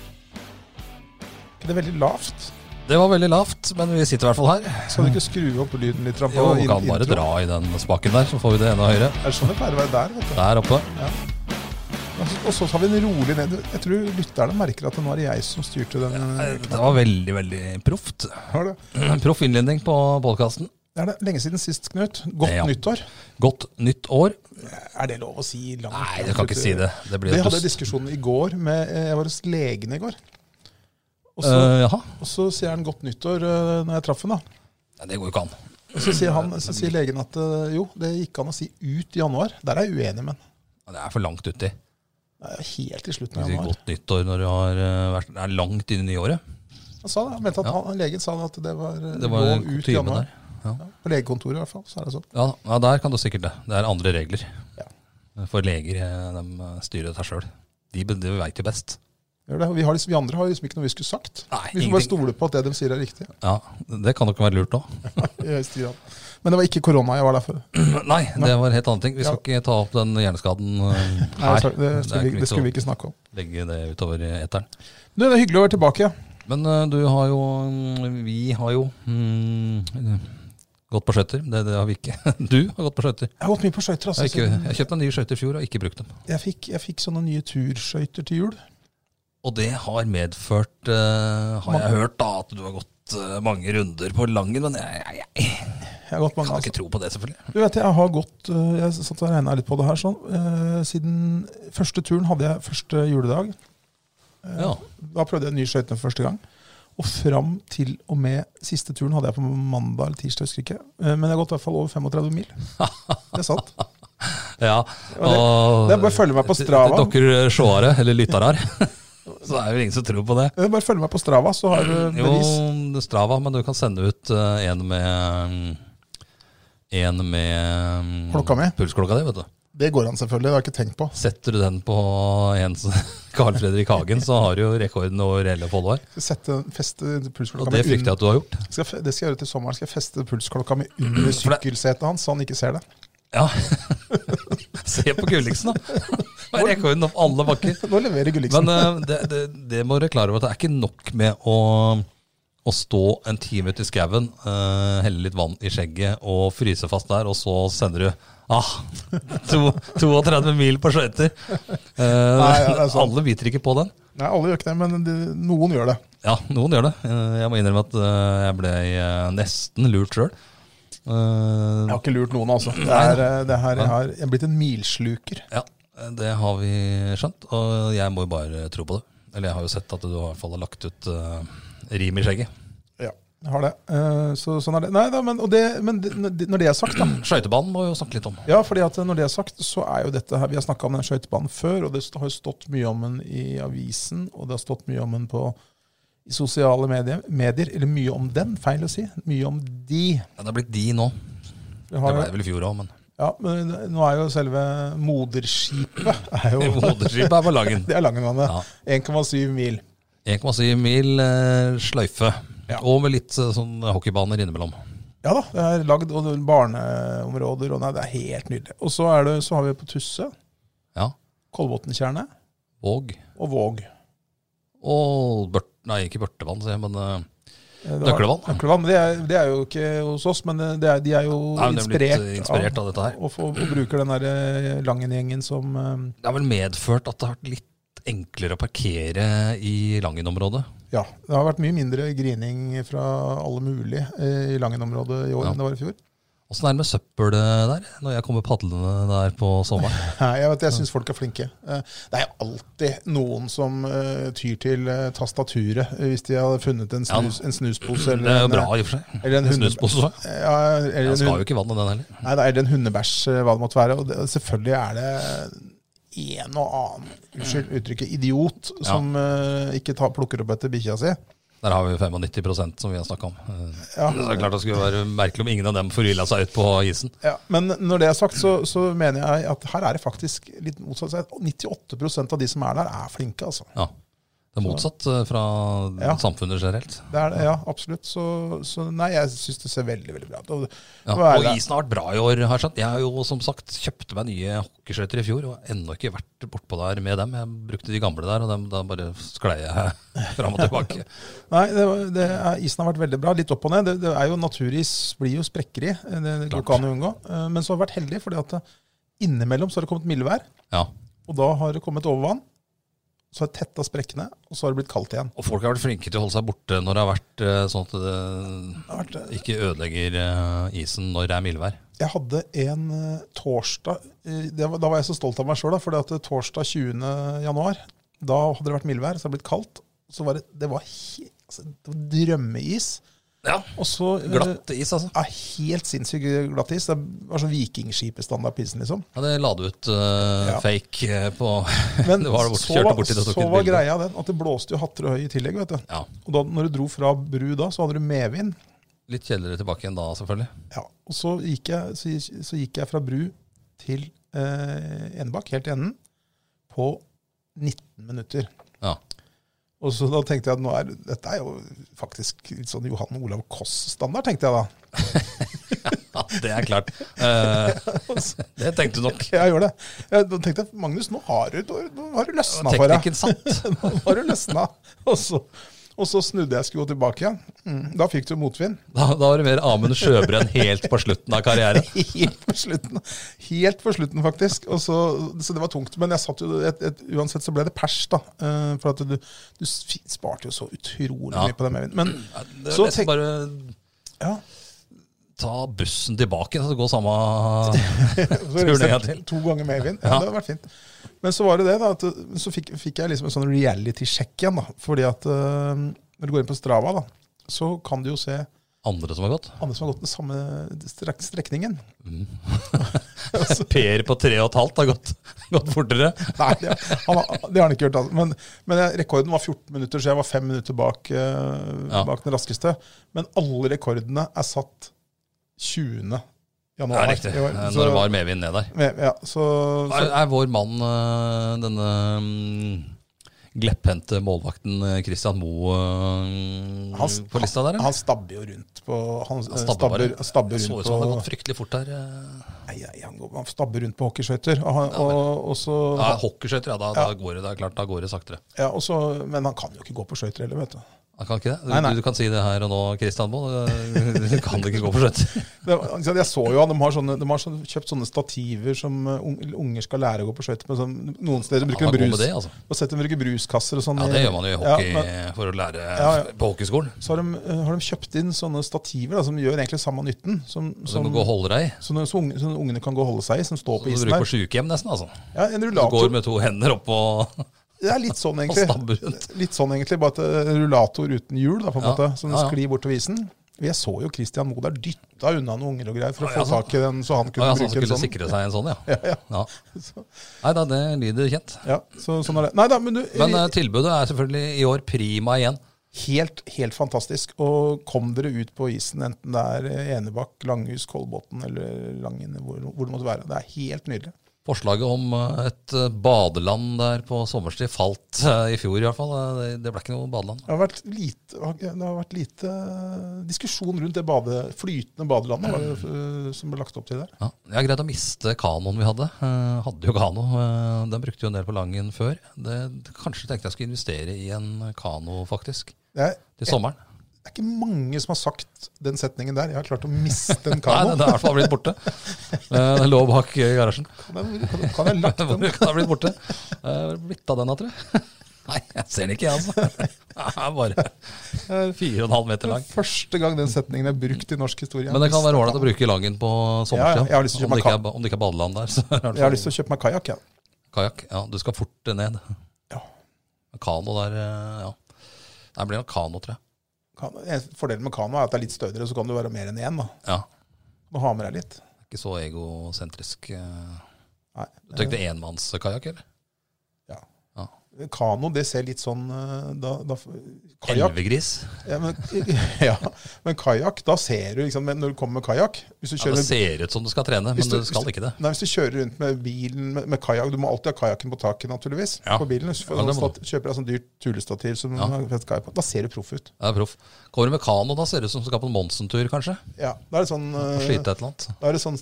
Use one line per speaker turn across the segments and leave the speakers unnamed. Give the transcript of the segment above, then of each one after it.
Ikke det veldig lavt?
Det var veldig lavt, men vi sitter i hvert fall her.
Skal du ikke skru opp lyden litt?
Jo, vi kan bare dra i den spaken der, så får vi det enda høyere.
Er det sånn det pleier å være der? vet du?
Der oppe.
Og så- Og så tar vi den rolig ned. Jeg tror lytterne merker at nå er det jeg som styrte den.
Eh, Det var veldig, veldig proft.
Har du?
Proff innledning på podkasten.
Det er det lenge siden sist, Knut. Godt
Ja.
nyttår.
Godt nytt år.
Er det lov å si? langt?
Nei, du kan ikke si det. Det blir
Vi
jo
hadde
dust.
diskusjonen i går. Med, eh, jeg var hos legen i går. Og så,
Eh, jaha.
og så sier han godt nyttår eh, når jeg traff han da.
Nei, Det går jo ikke an.
Og så sier, han, så sier legen at eh, jo, det gikk an å si ut i januar. Der er jeg uenig med han.
Ja, Det er for langt uti.
Det er Helt til slutten
Du
av
sier
januar.
Godt nytt år når du har eh, vært det er langt inn i nyåret.
Han sa det. Han mente at han, legen sa at det var, eh,
Det var
lov ut i
kutymen
januar.
der. Ja.
På legekontoret i hvert fall, så er det sånn.
Ja, ja, der kan du sikkert det. Det er andre regler.
Ja.
For leger, eh, de eh, styrer seg sjøl. De, de veit jo best.
Gjør det. Og Vi, har liksom, vi andre har liksom ikke noe vi skulle sagt.
Nei,
vi skal bare
ingenting.
stole på at det de sier er riktig.
Ja, Det kan jo ikke være lurt nå.
I høyeste grad. Men det var ikke korona jeg var der for. Nei,
Nei, det var en helt annen ting. Vi skal ikke ta opp den hjerneskaden eh, her.
sorry, det, skulle vi,
ikke
det skulle vi
vits
ikke snakke om.
å legge det utover eteren.
Du, det er hyggelig å være tilbake.
Men eh, du har jo mm, Vi har jo mm, gått på skøyter. Det, det har vi ikke. Du har gått på skøyter.
Jeg har gått mye på skøyter.
Jeg, har
Altså.
ikke-
siden-
jeg kjøpte en ny skøyte i fjor og har ikke brukt dem.
Jeg, fikk, jeg fikk sånne nye turskøyter til jul.
Og det har medført, eh, har jeg hørt, da, at du har gått eh, mange runder på Langen. Men jeg, jeg, jeg
Jeg har gått mange,
kan
altså.
ikke tro på det, selvfølgelig.
Du vet, jeg har gått øh, Jeg satt og regna litt på det her sånn. øh, Siden første turen hadde jeg første juledag.
Ja,
Da prøvde jeg nye skøytene for første gang. Og fram til og med siste turen hadde jeg på mandag eller tirsdag, husker ikke. Eh, Men jeg har gått i hvert fall over 35 mil. Det er sant.
ja.
det-
og-
det er bare å følge meg på
til-
Strava.
Til dere seere, eller lyttere her, så er det vel ingen som tror på det.
Eh, Bare følg meg på Strava, så har du
Jo,
bevis.
Strava, men du kan sende ut eh, en med mm, En med mm,
Klokka mi?
Pulsklokka di, vet du.
Det går an, selvfølgelig. Det har jeg ikke tenkt på.
Setter du den på en som Carl Fredrik Hagen, så har du jo rekorden over reelle follower.
Skal sette, feste
Og
pulsklokka
det
mi
frykter
under,
jeg at du har gjort.
skal, jeg fe- Det skal jeg gjøre til sommeren. Skal jeg feste pulsklokka mi under
For det-
sykkelsetet hans, så han ikke ser det.
Ja. Se på Gulliksen, da. Det er Rekorden om alle bakker.
Nå leverer Gulliksen.
Men eh, det, det, det må dere klare over at det er ikke nok med å, å stå en time ute i skauen, eh, helle litt vann i skjegget og fryse fast der, og så sender du ah, to, 32 mil på skøyter. Eh,
ja, det er sant.
alle biter ikke på den.
Nei, alle gjør ikke det, men de, noen gjør det.
Ja, noen gjør det. Eh, jeg må innrømme at eh, jeg ble eh, nesten lurt Eh, sjøl.
Jeg har ikke lurt noen, altså. Det er, eh, det her, jeg, har, jeg er blitt en milsluker.
Ja, det har vi skjønt, og jeg må jo bare tro på det. Eller jeg har jo sett at du i hvert fall har lagt ut eh, rim i skjegget.
Ja, jeg har det. Eh, Så, sånn er det. Nei da, men, og det, men det, når det er sagt, da.
Skøytebanen må vi jo snakke litt om.
Ja, fordi at når det er sagt, så er jo dette her Vi har snakka om den skøytebanen før, og det har jo stått mye om den i avisen, og det har stått mye om den på i sosiale medier, medier. Eller mye om den, feil å si. Mye om de.
Ja, det har blitt de nå.
Vi
Det
har,
ble det vel i fjor òg, men
ja, men nå er jo selve moderskipet er jo,
moderskipet er på Langen.
Det er Langenvannet.
Ja.
1,7 mil.
1,7 mil eh, sløyfe.
Ja.
Og med litt eh, sånn hockeybaner innimellom.
Ja da, det er lagd og det er barneområder, og nei, det er helt nydelig. Og så, er det, så har vi på Tusse,
Ja.
Kolbotntjernet
Og,
og Våg.
og Børt... Nei, ikke Børtevann, sier jeg, men eh,
Eh, det var-
Nøklevann.
Nøklevann, det er, det er jo ikke hos oss, men eh, det er, de er jo
Nei, men det er blitt,
inspirert,
eh, inspirert av dette her.
Og, får- og bruker den der eh, Langen-gjengen som eh,
Det har vel medført at det har vært litt enklere å parkere i Langen-området.
Ja, det har vært mye mindre grining fra alle mulige eh, i Langen-området i år
Ja.
enn det var i fjor.
Åssen er det med søppel eh, der, når jeg kommer padlende der på sommeren?
Nei, jeg vet, jeg syns folk er flinke. Eh, Det er alltid noen som eh, tyr til eh, tastaturet eh, hvis de har funnet en,
Ja.
snus, en snuspose
Det
eller
er jo bra
en, eh,
i og for seg.
eller en hunde-
Snuspose òg.
ja, eller
Den
en,
skal
hund-
jo ikke i vannet, den heller.
nei, da er det en hundebæsj, eh, hva det måtte være. Og det, selvfølgelig er det en og annen unnskyld uttrykket, idiot som eh, ikke tar, plukker opp etter bikkja si.
Der har vi 95 som vi har snakka om. Eh,
Ja.
Så det er klart det skulle være merkelig om ingen av dem forgylla seg ut på isen.
Ja, men når det er sagt, så, så mener jeg at her er det faktisk litt motsatt. seg. 98 av de som er der, er flinke, altså.
Ja. Det er motsatt eh, fra
Ja.
samfunnet generelt.
Det er det, ja, absolutt. Så, så nei, jeg syns det ser veldig veldig bra ut. Og,
Ja,
hva er
og
det?
isen har vært bra i år. har jeg skjønt. Jeg har jo som sagt kjøpte meg nye hockeyskøyter i fjor og har ennå ikke vært bortpå der med dem. Jeg brukte de gamle der, og dem, da bare sklei jeg fram og tilbake.
Nei, det, var- det er, isen har vært veldig bra. Litt opp og ned. Det, det er jo Naturis blir jo sprekker i. Det, det går
Klart.
ikke an å unngå. Eh, Men så har jeg vært heldig, fordi at eh, innimellom så har det kommet mildvær.
Ja.
Og da har det kommet overvann. Så har jeg tetta sprekkene, og så har det blitt kaldt igjen.
Og folk har vært flinke til å holde seg borte når det har vært eh, sånn at det
Det har vært, eh,
ikke ødelegger eh, isen når det er mildvær.
Jeg hadde en eh, torsdag eh, det var, Da var jeg så stolt av meg sjøl, for torsdag 20. januar da hadde det vært mildvær, så hadde det blitt kaldt. Så var det, det, var he, altså, det var drømmeis.
Ja,
Og så eh,
glatt is, altså.
Ja, helt sinnssykt glatt is. Det var sånn vikingskipestandard pilsen, liksom.
Ja, det la du ut eh,
Ja.
fake eh, på
Men
det var det bort,
så,
Kjørte
var-
borti det og tok
så
et
var
bilde.
greia den at det blåste jo hatter og høy i tillegg. vet du.
Ja,
Og da når du dro fra bru da, så hadde du medvind.
Litt kjedeligere tilbake igjen da, selvfølgelig.
Ja, og så gikk jeg, så, så gikk jeg fra Bru til eh, Enebakk, helt i enden, på 19 minutter.
Ja.
Og så da tenkte jeg at nå er, dette er jo faktisk litt sånn Johan Olav Koss-standard, tenkte jeg da.
ja, det er klart. Eh, det tenkte du nok.
Jeg gjør det. Jeg, da tenkte jeg, Magnus, nå har du, nå har du løsna for deg.
Teknikken satt.
Nå har du løsna. Og så, og så snudde jeg skulle gå tilbake igjen. Mm, da fikk du motvind.
Da, da var det mer Amund Sjøbrenn helt på slutten av karrieren.
Helt på slutten, Helt på slutten faktisk. Og så, så det var tungt. Men jeg satt jo, et, et, uansett så ble det pers, da. Eh, For at du, du s- sparte jo så utrolig
Ja.
mye på den medvinden. Men
Ja, Det er
Så
nesten
tenk-
bare
ja,
ta bussen tilbake, så det går samme
så
Tur ned
reiste
til.
jeg to ganger medvind. Ja, Det hadde vært fint. Men så var det det, da. At, eh, så fikk, fikk jeg liksom en sånn reality-sjekk igjen, da. Fordi at eh, når du går inn på Strava, da, så kan du jo se
andre som har gått.
andre som har gått den samme strek strekningen.
Mm.
Altså,
Per på tre og et halvt har gått, gått fortere.
Nei, det, han, har- det har han ikke gjort. Altså. Men, men rekorden var 14 minutter, så jeg var fem minutter bak, eh,
Ja.
bak den raskeste. Men alle rekordene er satt 20.
Det
januar.
er riktig.
i år.
eh,
Så-
Når det var medvind ned der.
Med- Ja, så,
Er,
så,
er vår mann øh, denne mm, glepphendte målvakten øh, Christian Moe øh,
Han s-
på lista der? eller?
han stabber jo rundt på Han, eh,
Han stabber
stabber,
bare.
stabber
Det så
rundt
ut som han hadde
på
gått fryktelig fort der. øh.
Nei, nei, han, går, han stabber rundt på hockeyskøyter. Og, han- og, og så
Ja, Hockeyskøyter, ja. Da, da, går det, det er klart, da går det saktere.
ja, og så- Men han kan jo ikke gå på skøyter heller, vet du.
Han kan ikke det? Du,
Nei, nei.
du kan si det her og nå, Christian Moe. øh, Du kan ikke gå på skøyter.
Det, var- ikke sant, jeg så jo han, De har, sånne, de har sånne, kjøpt sånne stativer som eh, ung- unger skal lære å gå på skøyter med. Sånn, noen steder
Han
bruker
er
de
god med
brus,
det, altså.
og setter de bruker bruskasser og sånn.
Ja,
i-
det gjør man jo i
Ja,
hockey
men
for å lære
Ja, ja.
på hockeyskolen.
så har de, eh, har de kjøpt inn sånne stativer da, som gjør egentlig samme nytten. Som,
Så
som,
du må gå og holde deg.
så, når- så unge, så ungene kan gå og holde seg i, som står
Så
på
du
isen
bruker på
der.
sjukehjem nesten, altså.
Ja, en
Du går
rullator.
med to hender opp og,
Det er litt sånn,
og
egentlig.
stabber rundt.
Litt sånn egentlig, Bare at eh, rullator uten hjul, da, på en
Ja,
måte, som
ja, ja.
sklir bortover isen. Jeg så jo Christian Moe der dytta unna noen unger og greier for å få
Ja, ja, sånn.
tak i den, så han
Ja,
kunne
ja, så han
bruke
skulle
en sånn.
sikre seg en sånn, ja.
Ja, ja.
ja.
Så,
Nei da, det lyder kjent.
ja, så, sånn er det. Nei da, men du
Men eh, tilbudet er selvfølgelig i år prima igjen.
Helt, helt fantastisk. Og kom dere ut på isen, enten det er eh, Enebakk, Langhus, Kolbotn eller Langen, hvor, hvor det måtte være. Det er helt nydelig.
Forslaget om eh, et eh, badeland der på sommerstid falt eh, i fjor i hvert fall. Eh, Det- Det ble ikke noe badeland.
Det har vært lite, det har vært lite eh, diskusjon rundt det bade, flytende badelandet var det, eh, som ble lagt opp til der.
Ja, jeg har greid å miste kanoen vi hadde. Eh, hadde jo kano. eh, den brukte jo en del på Langen før. Det, kanskje tenkte jeg skulle investere i en kano, faktisk.
Det er,
Til sommeren.
det er ikke mange som har sagt den setningen der. Jeg har klart å miste en
Nei,
kano.
den er i hvert fall blitt borte. Eh, den lå bak eh, garasjen.
Kan jeg- kan jeg- kan jeg lagt
Den
den?
kan ha blitt borte. Eh, blitt av den, da, tror jeg. Nei, jeg ser den ikke, jeg, altså. Den er bare fire og en halv meter lang.
Første gang den setningen er brukt i norsk historie. Jeg
Men det kan være
mistet
ålreit å
kanoen.
bruke Langen på
Ja,
sommerstida.
ja, jeg har lyst til å
om, det
kjøpe
ikke er ba- om det ikke er badeland der, så er
Jeg har
det
lyst til å kjøpe meg kajakk, jeg.
kajakk. Ja, du skal fort ned.
Ja.
Kano der, eh, ja. Det blir nok kano, tror jeg.
Kan- en Fordelen med kano er at det er litt stødigere, så kan du være mer enn én. da.
Ja,
Du har med deg litt.
Ikke så egosentrisk. eh.
Nei. eh,
Du tenkte enmannskajakk, eller?
Ja. Kano, det ser litt sånn eh, da, da, Kajakk
Elvegris.
ja, men, ja, men kajakk, da ser du liksom, men Når du kommer med kajakk Hvis du
Ja,
kjører
det ser ut som du skal trene,
Hvis
men
du-
du skal ikke det.
Nei, hvis du kjører rundt med bilen med, med kajak, du må alltid ha kajakken på taket, naturligvis.
Ja.
På bilen, så får
Ja,
du
det må
stat- kjøper deg sånn dyrt tulestativ som
Ja.
har fett kajakk på. Da ser du proff ut.
Jeg er proff. Kommer du med kano, da ser det ut som du skal på en Monsen-tur, kanskje.
Ja, da er det sånn, eh,
Slite et eller annet.
da er det sånn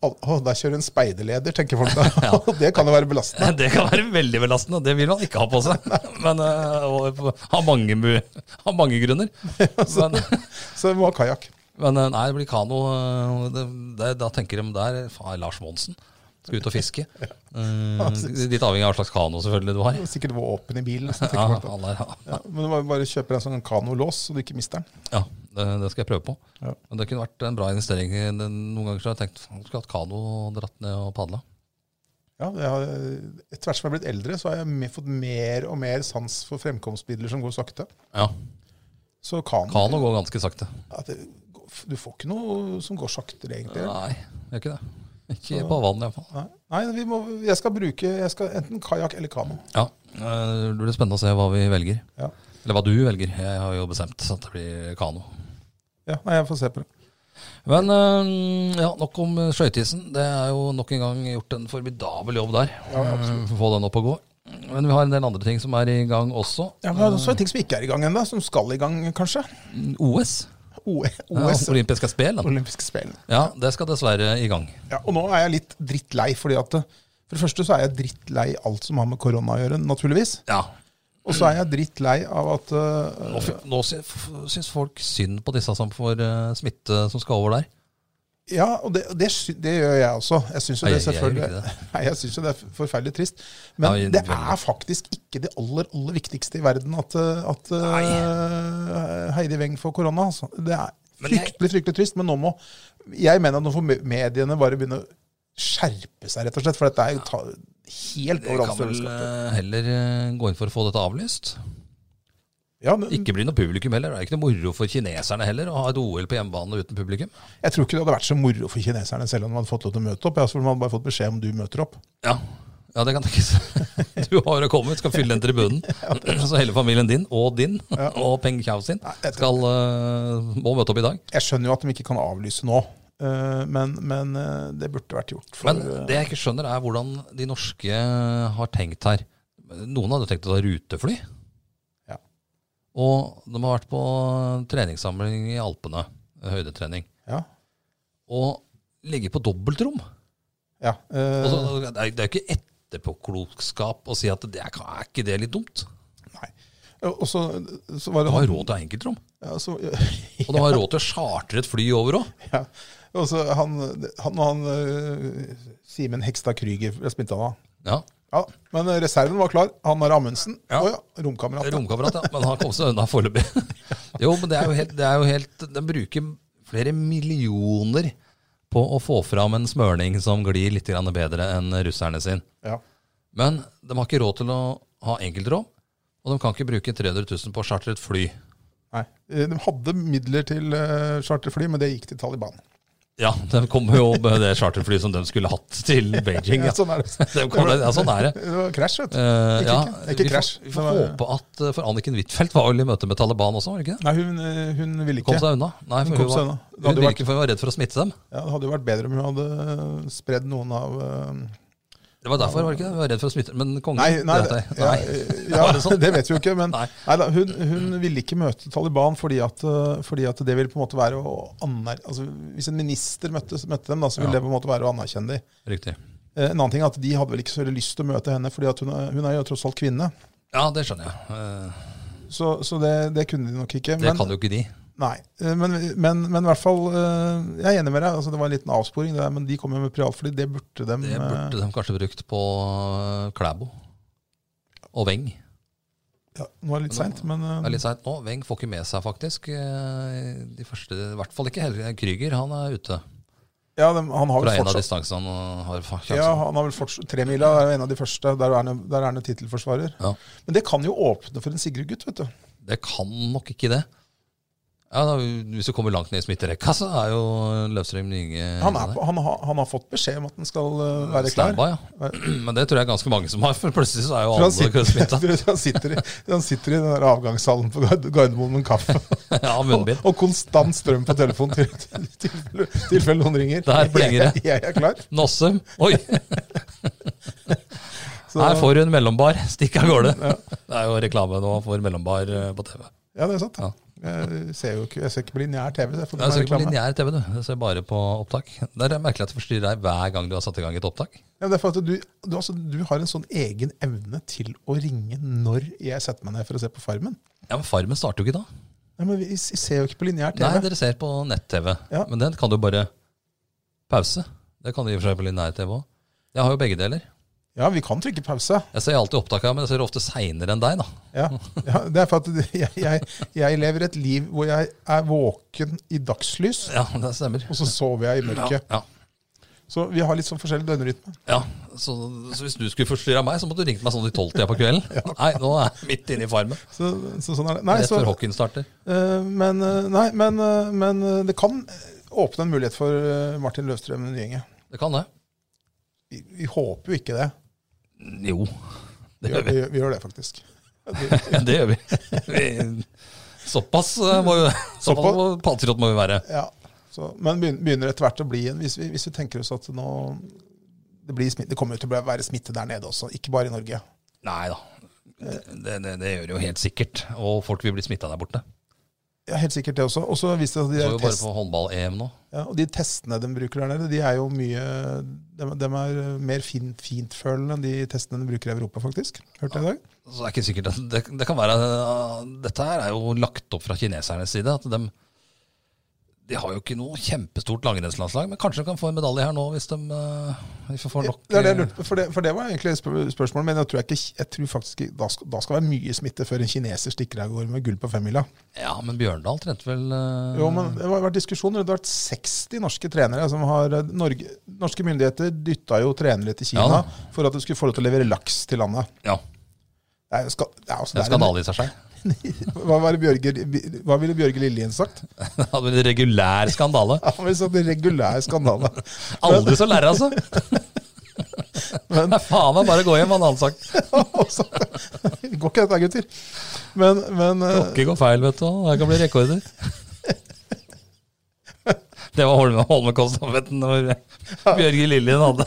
Å, å, der kjører en speiderleder, tenker folk da. det kan jo være belastende.
Det kan være veldig belastende. Det vil man ikke ha på seg. Men eh, og, av, mange, mu- av mange grunner. Men,
Så du må ha kajakk.
men eh, nei, det blir kano. eh, Det, det, da tenker de der faen, Lars Monsen skal ut og fiske. Eh, litt avhengig av hva slags kano selvfølgelig du har.
Sikkert våpen i bilen. Så
Ja,
tenker folk da.
alle er, ja.
Ja, men du må bare kjøpe deg en sånn kanolås, så du ikke mister den.
Ja, det, det skal jeg prøve på.
Ja.
Men det kunne vært en bra investering. Noen ganger så har jeg tenkt "Faen, skulle hatt kano og dratt ned og padla.
Ja, jeg har, Etter hvert som jeg har blitt eldre, så har jeg me- fått mer og mer sans for fremkomstmidler som går sakte.
Ja,
Så kano,
Kano går ganske sakte.
at det, Du får ikke noe som går saktere, egentlig.
Nei, gjør ikke det. Ikke på vann iallfall.
Nei, Nei vi må, jeg skal bruke jeg skal enten kajakk eller kano.
Ja, eh, det blir spennende å se hva vi velger.
Ja.
Eller hva du velger. Jeg har jo bestemt at det blir kano.
Ja, nei, jeg får se på det.
Men eh, ja, nok om eh, skøyteisen. Det er jo nok en gang gjort en formidabel jobb der.
Ja, absolutt.
eh, for å Få den opp og gå. Men vi har en del andre ting som er i gang også.
Ja, men det er også ting som ikke er i gang ennå, som skal i gang, kanskje.
OS.
O-
Ja,
OS,
Olympiske spel. da.
olympiske spill.
Ja, det skal dessverre i gang.
Ja, og nå er jeg litt drittlei, fordi at eh, for det første så er jeg drittlei alt som har med korona å gjøre, naturligvis.
Ja.
Og så er jeg drittlei av at eh,
Nå, fy- nå sy- f- syns folk synd på disse som får eh, smitte som skal over der.
Ja, og det, det, sy- det gjør jeg også. Jeg syns jo
Nei,
det
jeg- jeg gjør
selvfølgelig
ikke det.
Nei, jeg synes jo det er forferdelig trist. Men
Nei,
det
veldig.
er faktisk ikke det aller, aller viktigste i verden at, eh, at eh, Heidi Weng får korona. Altså. Det er
Men jeg-
fryktelig, fryktelig trist. Men nå må Jeg mener at nå får me- mediene bare begynne å skjerpe seg, rett og slett. For dette er jo ta, helt
Vi
over all
kan vel
følelse.
eh, heller eh, gå inn for å få dette avlyst.
Ja, men
Ikke blir noe publikum heller. Det er ikke noe moro for kineserne heller å ha et OL på hjemmebane uten publikum.
jeg tror ikke det hadde vært så moro for kineserne selv om de hadde fått lov til å møte opp. Ja, så hadde man bare fått beskjed om du møter opp.
Ja, ja det kan tenkes. Du har jo kommet, skal fylle den tribunen. Så hele familien din, og din, og Peng Chau sin,
jeg tror-
skal, eh, må møte opp i dag.
Jeg skjønner jo at de ikke kan avlyse nå, eh, men, men eh, det burde vært gjort. For, eh,
Men det jeg ikke skjønner, er hvordan de norske eh, har tenkt her. Noen hadde tenkt å ta rutefly.
Ja.
Og de har vært på eh, treningssamling i Alpene, eh, høydetrening,
ja,
og ligget på dobbeltrom.
ja, eh,
Og så- det er det er jo ikke etterpåklokskap å si at det er, er ikke det litt dumt.
nei. Og så, så var
Du
det
har råd til enkeltrom,
ja, så,
og du har råd til å chartre et fly over òg.
ja. Og så han, han, han eh, Simen Hekstad Krüger jeg spilte han av.
Ja.
Ja, men eh, reserven var klar. Han har Amundsen.
Ja.
Å ja, romkamerat. ja.
Romkamerat, ja. Men han kom seg unna foreløpig. Jo, men det er jo helt, det er jo helt De bruker flere millioner på å få fram en smørning som glir litt grann bedre enn russerne sin.
Ja.
Men de har ikke råd til å ha enkeltrom, og de kan ikke bruke 300 000 på å chartre et fly.
Nei. Eh, De hadde midler til eh, charterfly, men det gikk til Taliban.
Ja, de kom jo med det charterflyet som de skulle hatt til Beijing.
Ja,
Ja.
sånn er det.
De kom, ja, sånn er det.
Det var krasj, vet du.
Eh,
Ikke-
ja,
ikke
vi får,
krasj.
vi får
Det var-
håpe at eh, For Anniken Huitfeldt var vel i møte med Taliban også, var det ikke det?
Nei, hun, eh, hun ville
Kom
ikke.
seg unna. Nei,
Hun
for
kom
hun,
seg
var,
unna. Det
hun
hadde
ville
vært-
ikke for hun var redd for å smitte dem.
Ja, det hadde jo vært bedre om hun hadde spredd noen av eh,
Det var derfor, var det ikke det? Hun var redd for å smitte Men kongen
Nei, nei,
dreit deg.
ja, eh,
Nei.
ja,
Var det sånn?
det vet vi jo ikke. Men
Nei.
neida, hun, hun ville ikke møte Taliban fordi at, eh, fordi at det ville på en måte være å aner, altså, Hvis en minister møtte, møtte dem, da, så ville
Ja.
det på en måte være å anerkjenne dem.
Riktig.
Eh, En annen ting er at De hadde vel ikke så veldig lyst til å møte henne, fordi at hun, er, hun er jo tross alt kvinne.
Ja, det skjønner jeg. Eh,
Så, så det, det kunne de nok ikke.
Det
Men,
kan jo ikke de.
nei, eh, men, men, men i hvert fall eh, Jeg er enig med deg. Altså, det var en liten avsporing, det der, men de kom jo med privatfly. Det burde dem
Det
eh,
burde de kanskje brukt på eh, Klæbo og Weng.
ja, Nå er det litt seint, men eh,
Det er litt seint nå. Weng får ikke med seg, faktisk. eh, De første, I hvert fall ikke Helge Krüger. Han er ute
ja, dem, han har
fra
vel
en av
fortsatt
distansene han har fa-
Ja,
sjansen.
han har vel fortsatt Tremila er jo en av de første. Der er han jo- der er han jo tittelforsvarer.
Ja.
Men det kan jo åpne for en Sigurd-gutt, vet du.
Det kan nok ikke det. Ja, da, Hvis du kommer langt ned i smitterekka, så er jo Løvstrøm Inge
Han, er, på- han, har- han har fått beskjed om at den skal eh, være klar.
Standby, ja. Men det tror jeg ganske mange som har, for plutselig så er jo
For han
alle smitta.
sitter, han, sitter i, han sitter i den der avgangshallen på Gard- Gardermoen med en kaffe
Ja,
og,
munnbind.
og konstant strøm på telefonen til til- tilfelle tilfelle noen ringer.
Der blinger
jeg, jeg er klar.
Nossum. Oi,
Så,
her får du en mellombar. Stikk av gårde. Det er jo reklame nå for mellombar eh, på TV.
ja, det er sant.
Ja.
Jeg ser jo ikke, jeg ser ikke på lineær TV. Så jeg får
Jeg
meg
ser ikke på
reklame.
lineær TV, du. Jeg ser bare på opptak. Der er det merkelig at det forstyrrer deg hver gang du har satt i gang et opptak.
Ja, men det er for at du, du, altså, du har en sånn egen evne til å ringe når jeg setter meg ned for å se på Farmen.
Ja, Men Farmen starter jo ikke da.
Ja, men vi s- ser jo ikke på lineær TV.
Nei, dere ser på nett-TV.
Ja.
Men den kan du bare pause. Det kan du i og for seg på lineær-TV òg. Jeg har jo begge deler.
Ja, vi kan trykke pause.
Jeg ser alltid opptak av, men jeg ser ofte seinere enn deg, da.
Ja. Ja, det er for at jeg, jeg, jeg lever et liv hvor jeg er våken i dagslys,
Ja, det stemmer.
og så sover jeg i mørket.
Ja,
Så vi har litt sånn forskjellig døgnrytme.
ja. Så, så hvis du skulle forstyrra meg, så måtte du ringt meg sånn i tolvtida på kvelden. Nei, nå er jeg midt inne i farmen.
Så, så sånn er det. Nei,
Rett
så,
før hockeyen starter.
eh, men, eh, nei men, eh, men eh, det kan åpne en mulighet for eh, Martin Løvstrøm Nyenge.
Det kan det.
Vi, vi håper jo ikke det.
Jo,
Vi
det
gjør,
gjør vi.
vi, gjør- vi gjør det, faktisk.
Det gjør vi. vi. Såpass eh, må vi Såpass må- patriot må vi være.
Ja, så, men begyn- begynner etter hvert å bli en hvis vi, hvis vi tenker oss at nå det, blir smitte, det kommer jo til å bli- være smitte der nede også, ikke bare i Norge.
Nei da. Det, det, det gjør det jo helt sikkert. Og folk vil bli smitta der borte.
Ja, Helt sikkert det også. Og så viste det
Så
seg
jo
at de,
bare
test,
på håndball-EM nå.
ja, og de testene de bruker der nede, de er jo mye De, de er mer fin, fintfølende enn de testene de bruker i Europa, faktisk. Hørte jeg i dag?
Så det er ikke sikkert at det, det kan være eh, Dette her er jo lagt opp fra kinesernes side. At de, de har jo ikke noe kjempestort langrennslandslag, men kanskje de kan få en medalje her nå hvis de, eh, hvis de får nok
Det er det jeg lurte på, for det, for det var egentlig spør spørsmålet. Men jeg tror, jeg ikke, jeg tror faktisk ikke- da skal, da skal det være mye smitte før en kineser stikker av gårde med gull på femmila.
eh, Ja, men Bjørndal trente vel eh,
Jo, men Det har vært diskusjoner. Det har vært 60 norske trenere som har eh, Norge, Norske myndigheter dytta jo trenere til
Ja
Kina
da.
for at de skulle få lov til å levere laks til landet.
Ja,
Det er, jo ska, det er, altså,
det er
det er en-
en skandale i seg sjøl.
hva, var det Bjørge, hva ville Bjørge Lillien sagt?
Det hadde vært en regulær skandale.
Han ville sagt en regulær skandale.
Aldri så lære, altså!
Men-
Nei, faen meg, bare gå hjem, hadde han sagt.
Og så- altså, Går ikke dette, gutter? Men, men eh,
Ikke gå feil, vet du. Det kan bli rekorder. Det var Holme- Holmenkollstafetten når Bjørge Lillien hadde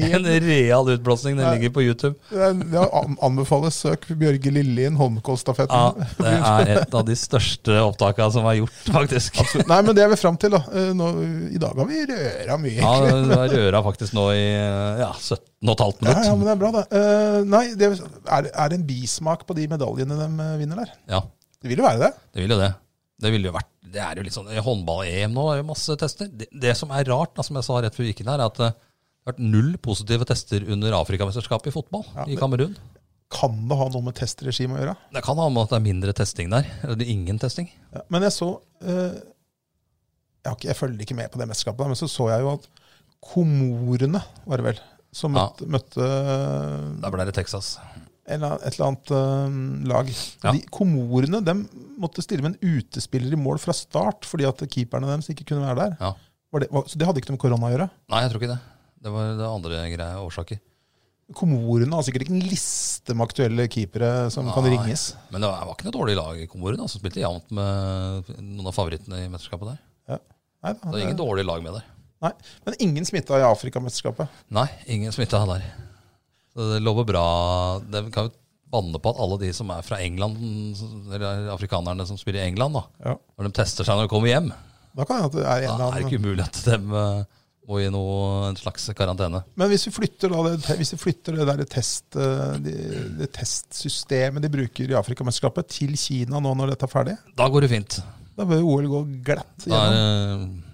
en real utblåsning. Den ligger på YouTube.
det er- det er an- anbefales søk Bjørge Lillien
Ja,
Holmenkollstafetten.
Det er et av de største opptakene som er gjort, faktisk.
Nei, men det er vi fram til, da. Eh, Nå, I dag har vi røra mye.
Ja, det var røra faktisk nå i ja, 17 og et halvt
Ja, ja, men
minutt.
det er bra, det. Eh, nei, det er, er det en bismak på de medaljene de eh, vinner der?
Ja,
Det vil jo være det.
det ville jo det. Det ville jo vært, det er jo litt sånn, i Håndball-EM nå er jo masse tester. Det, det som er rart, da, som jeg sa rett før vi gikk inn her, er at eh, det har vært null positive tester under Afrikamesterskapet i fotball i Kamerun.
Kan det ha noe med testregimet å gjøre?
Det kan ha med at det er mindre testing der. Eller ingen testing.
Ja, men jeg så eh, jeg, har ikke, jeg følger ikke med på det mesterskapet, da, men så så jeg jo at Komorene, var det vel, som
Ja.
møtte, møtte eh,
Da ble det Texas.
en eller annen- et eller annet eh, lag.
Ja.
De Komorene dem måtte stille med en utespiller i mål fra start fordi at keeperne deres ikke kunne være der.
Ja.
Var det, var, så det hadde ikke noe med korona å gjøre.
Nei, jeg tror ikke det. Det var det andre greie årsaker.
Komorene har sikkert ikke en liste med aktuelle keepere som kan
Nei.
ringes.
Men det var ikke noe dårlig lag i Komorien, da, som spilte jevnt med noen av favorittene i mesterskapet der.
Ja. Nei, da,
Det er ingen dårlig lag med der.
nei. Men ingen smitta i Afrikamesterskapet.
Nei, ingen smitta der. Så det lover bra. De kan jo banne på at alle de som er fra England, eller afrikanerne som spiller i England, da,
Ja.
når de tester seg når de kommer hjem,
Da kan det hende at det er en
da
eller
er det
annen
ikke umulig at de eh, må i noe, en slags karantene.
Men hvis vi flytter, da, det, hvis vi flytter det, der test, eh, de, det testsystemet de bruker i Afrikamesterskapet, til Kina nå når dette er ferdig,
Da går det fint.
da bør jo OL gå glatt
Da er,
igjennom.
det-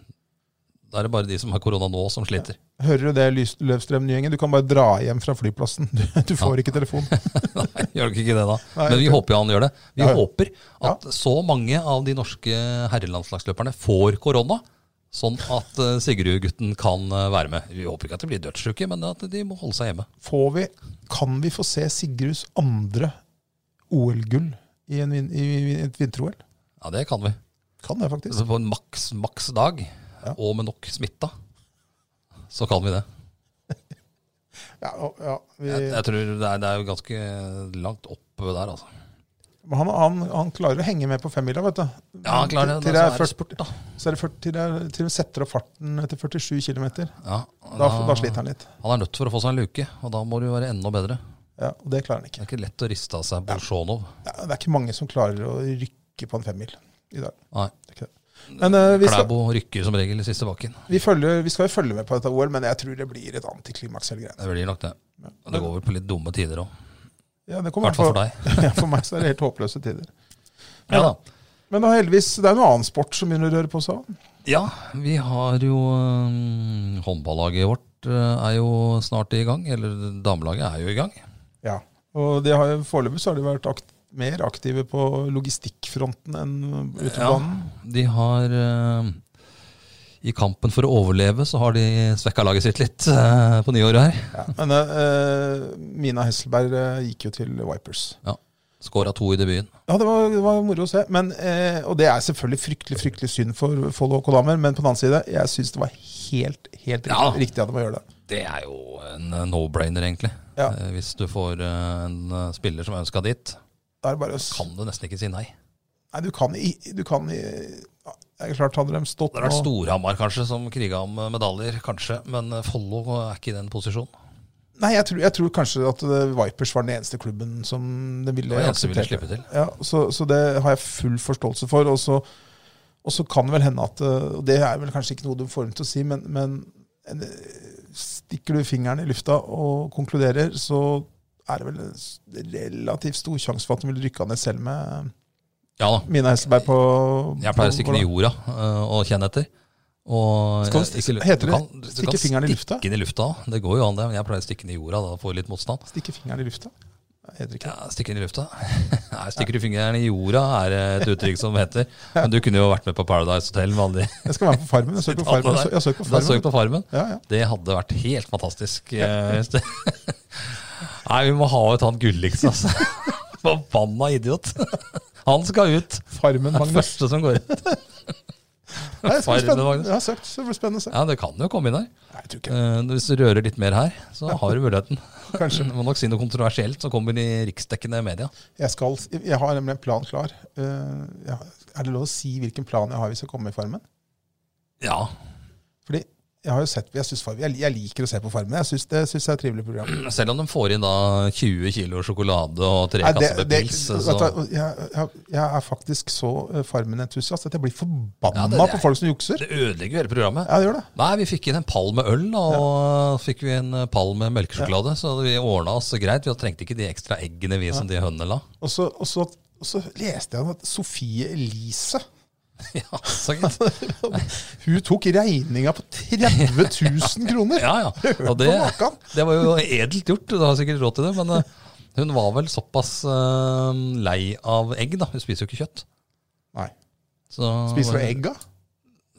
da er det bare de som har korona nå, som sliter.
Hører du det, Lys- Løvstrøm Nyhenger? Du kan bare dra hjem fra flyplassen. Du, du får ikke telefon.
Nei, gjør dere ikke det da?
Nei,
Men vi
ikke.
håper jo han gjør det. Vi
Ja, ja.
håper at så mange av de norske herrelandslagsløperne får korona, sånn at eh, Sigrud-gutten kan eh, være med. Vi håper ikke at de blir dødssyke, men at de må holde seg hjemme.
Får vi, kan vi få se Sigruds andre OL-gull i, en vin- i, i et vinter-OL?
Ja, det kan vi.
Kan det, faktisk.
Så på en maks, maks dag,
Ja.
og med nok smitta, så kan vi det.
Ja, og- ja, vi,
Jeg, jeg tror det er, det er jo ganske langt opp der, altså.
men han, han, han klarer å henge med på femmila, vet du.
Ja, han klarer det.
Til, til
Det
det
er
er først-
sport, da.
så er det ført- til, det er, til de setter opp farten etter 47 km.
Ja,
Da, da sliter han litt.
Han er nødt for å få seg en luke, og da må du være enda bedre.
Ja, og det klarer han
Det
ikke.
er ikke lett å riste av seg Bolsjunov.
Det er, det er ikke mange som klarer å rykke på en femmil i dag.
Nei.
Det er ikke det. Men eh, vi, skal,
Klæbo rykker som regel i siste bakken.
vi, følger, vi skal jo følge med på dette OL, men jeg tror det blir et antiklimaks hele greia.
Det blir nok det. Og Det går vel på litt dumme tider òg.
Ja, det
I
kommer
hvert fall for deg.
Ja, for meg så er det helt håpløse tider.
Ja da.
Men da heldigvis, det er noe annen sport som begynner å røre på seg òg.
Ja, vi har jo øhm, Håndballaget vårt øh, er jo snart i gang. Eller damelaget er jo i gang.
Ja. Og det har jo- foreløpig så har de vært akt, mer aktive på logistikkfronten enn ute på
Ja.
banen.
De har øhm, I kampen for å overleve så har de svekka laget sitt litt øh, på nyåret her.
Ja. Men eh, Mina Hesselberg eh, gikk jo til Vipers.
Skåra to i debuten.
Ja, det var, det var moro å se. Men, eh, og det er selvfølgelig fryktelig fryktelig synd for Follo HK Damer, men på den annen side, jeg syns det var helt helt riktig,
Ja.
riktig at de må gjøre det.
Det er jo en øh, no-brainer, egentlig.
Ja.
Eh, Hvis du får øh, en øh, spiller som er ønska dit,
Da er det bare å s-
kan du nesten ikke si nei.
Nei, du kan i du kan i, ja, Det er klart, hadde de stått
Det har vært
nå-
Storhamar kanskje som kriga om eh, medaljer, kanskje. Men eh, Follo er ikke i den posisjonen.
Nei, jeg tror, jeg tror kanskje at eh, Vipers var den eneste klubben som de ville
Det var eneste vi ville
akseptere.
slippe til.
Ja, så, så det har jeg full forståelse for. Og så, og så kan det vel hende at eh, Og det er vel kanskje ikke noe du får dem til å si, men, men en, eh, stikker du fingeren i lufta og konkluderer, så er det vel en s- relativt stor sjanse for at de vil rykke av ned selv med eh,
Ja da.
Mina Hesselberg på
Jeg pleier å stikke ned i
på-
jorda øh, og kjenne etter. Og
Skal du
jeg- ikke lu-
heter
du
det
kan- du
stikke
kan
fingeren i lufta?
Stikke den i lufta, Det går jo an, det. Men jeg pleier å stikke den i jorda, da får jeg litt motstand.
Stikke fingeren i lufta? Nei, heter det ikke det.
Ja, stikke den i lufta. Nei, stikker du fingeren i jorda er et uttrykk som heter. Men du kunne jo vært med på Paradise Hotel med alle de
Jeg skal være med på Farmen. Jeg søker på Farmen. Jeg søker- Jeg søker på
Da søk
farmen.
på Farmen.
Ja, ja.
Det hadde vært helt fantastisk. eh, hvis det- Nei, vi må ha ut han Gulliksen, altså. Forbanna idiot. Han skal ut.
Farmen,
Den
Magnus.
første som går ut.
Nei, det blir
Farmen,
spennende.
Magnus.
Jeg har søkt, så det blir spennende å se.
Ja, det kan jo komme inn her.
Nei, jeg tror ikke det.
Eh, Hvis du rører litt mer her, så har du muligheten.
Kanskje.
Du må nok si noe kontroversielt som kommer i riksdekkende media.
Jeg, skal, jeg har nemlig en plan klar. Eh, jeg har- er det lov å si hvilken plan jeg har hvis jeg kommer i Farmen?
Ja,
Fordi jeg har jo sett, jeg, synes, Farmen- jeg, jeg liker å se på Farmen. Jeg synes det synes jeg er et trivelig program.
selv om de får inn da 20 kilo sjokolade og tre
Nei,
kasser med pils, altså.
vet
så
du, jeg, jeg, jeg er faktisk så eh, Farmen-entusiast at jeg blir forbanna
Ja, det- det-
på folk som jukser.
det ødelegger jo hele programmet.
Ja, det gjør det.
Nei, vi fikk inn en pall med øl, da, og fikk vi en eh, pall med melkesjokolade. Så vi ordna oss greit. Vi trengte ikke de ekstra eggene vi som de hønene la.
Og så, og, så, og så leste jeg at Sofie Elise
Ja, så gitt.
Hun tok regninga på 30 000 kroner!
ja, ja. Og det,
På maken.
det var jo edelt gjort. Du har sikkert råd til det. Men eh, hun var vel såpass eh, lei av egg, da. Hun spiser jo ikke kjøtt.
Nei.
Så,
Spiser hun egg, da?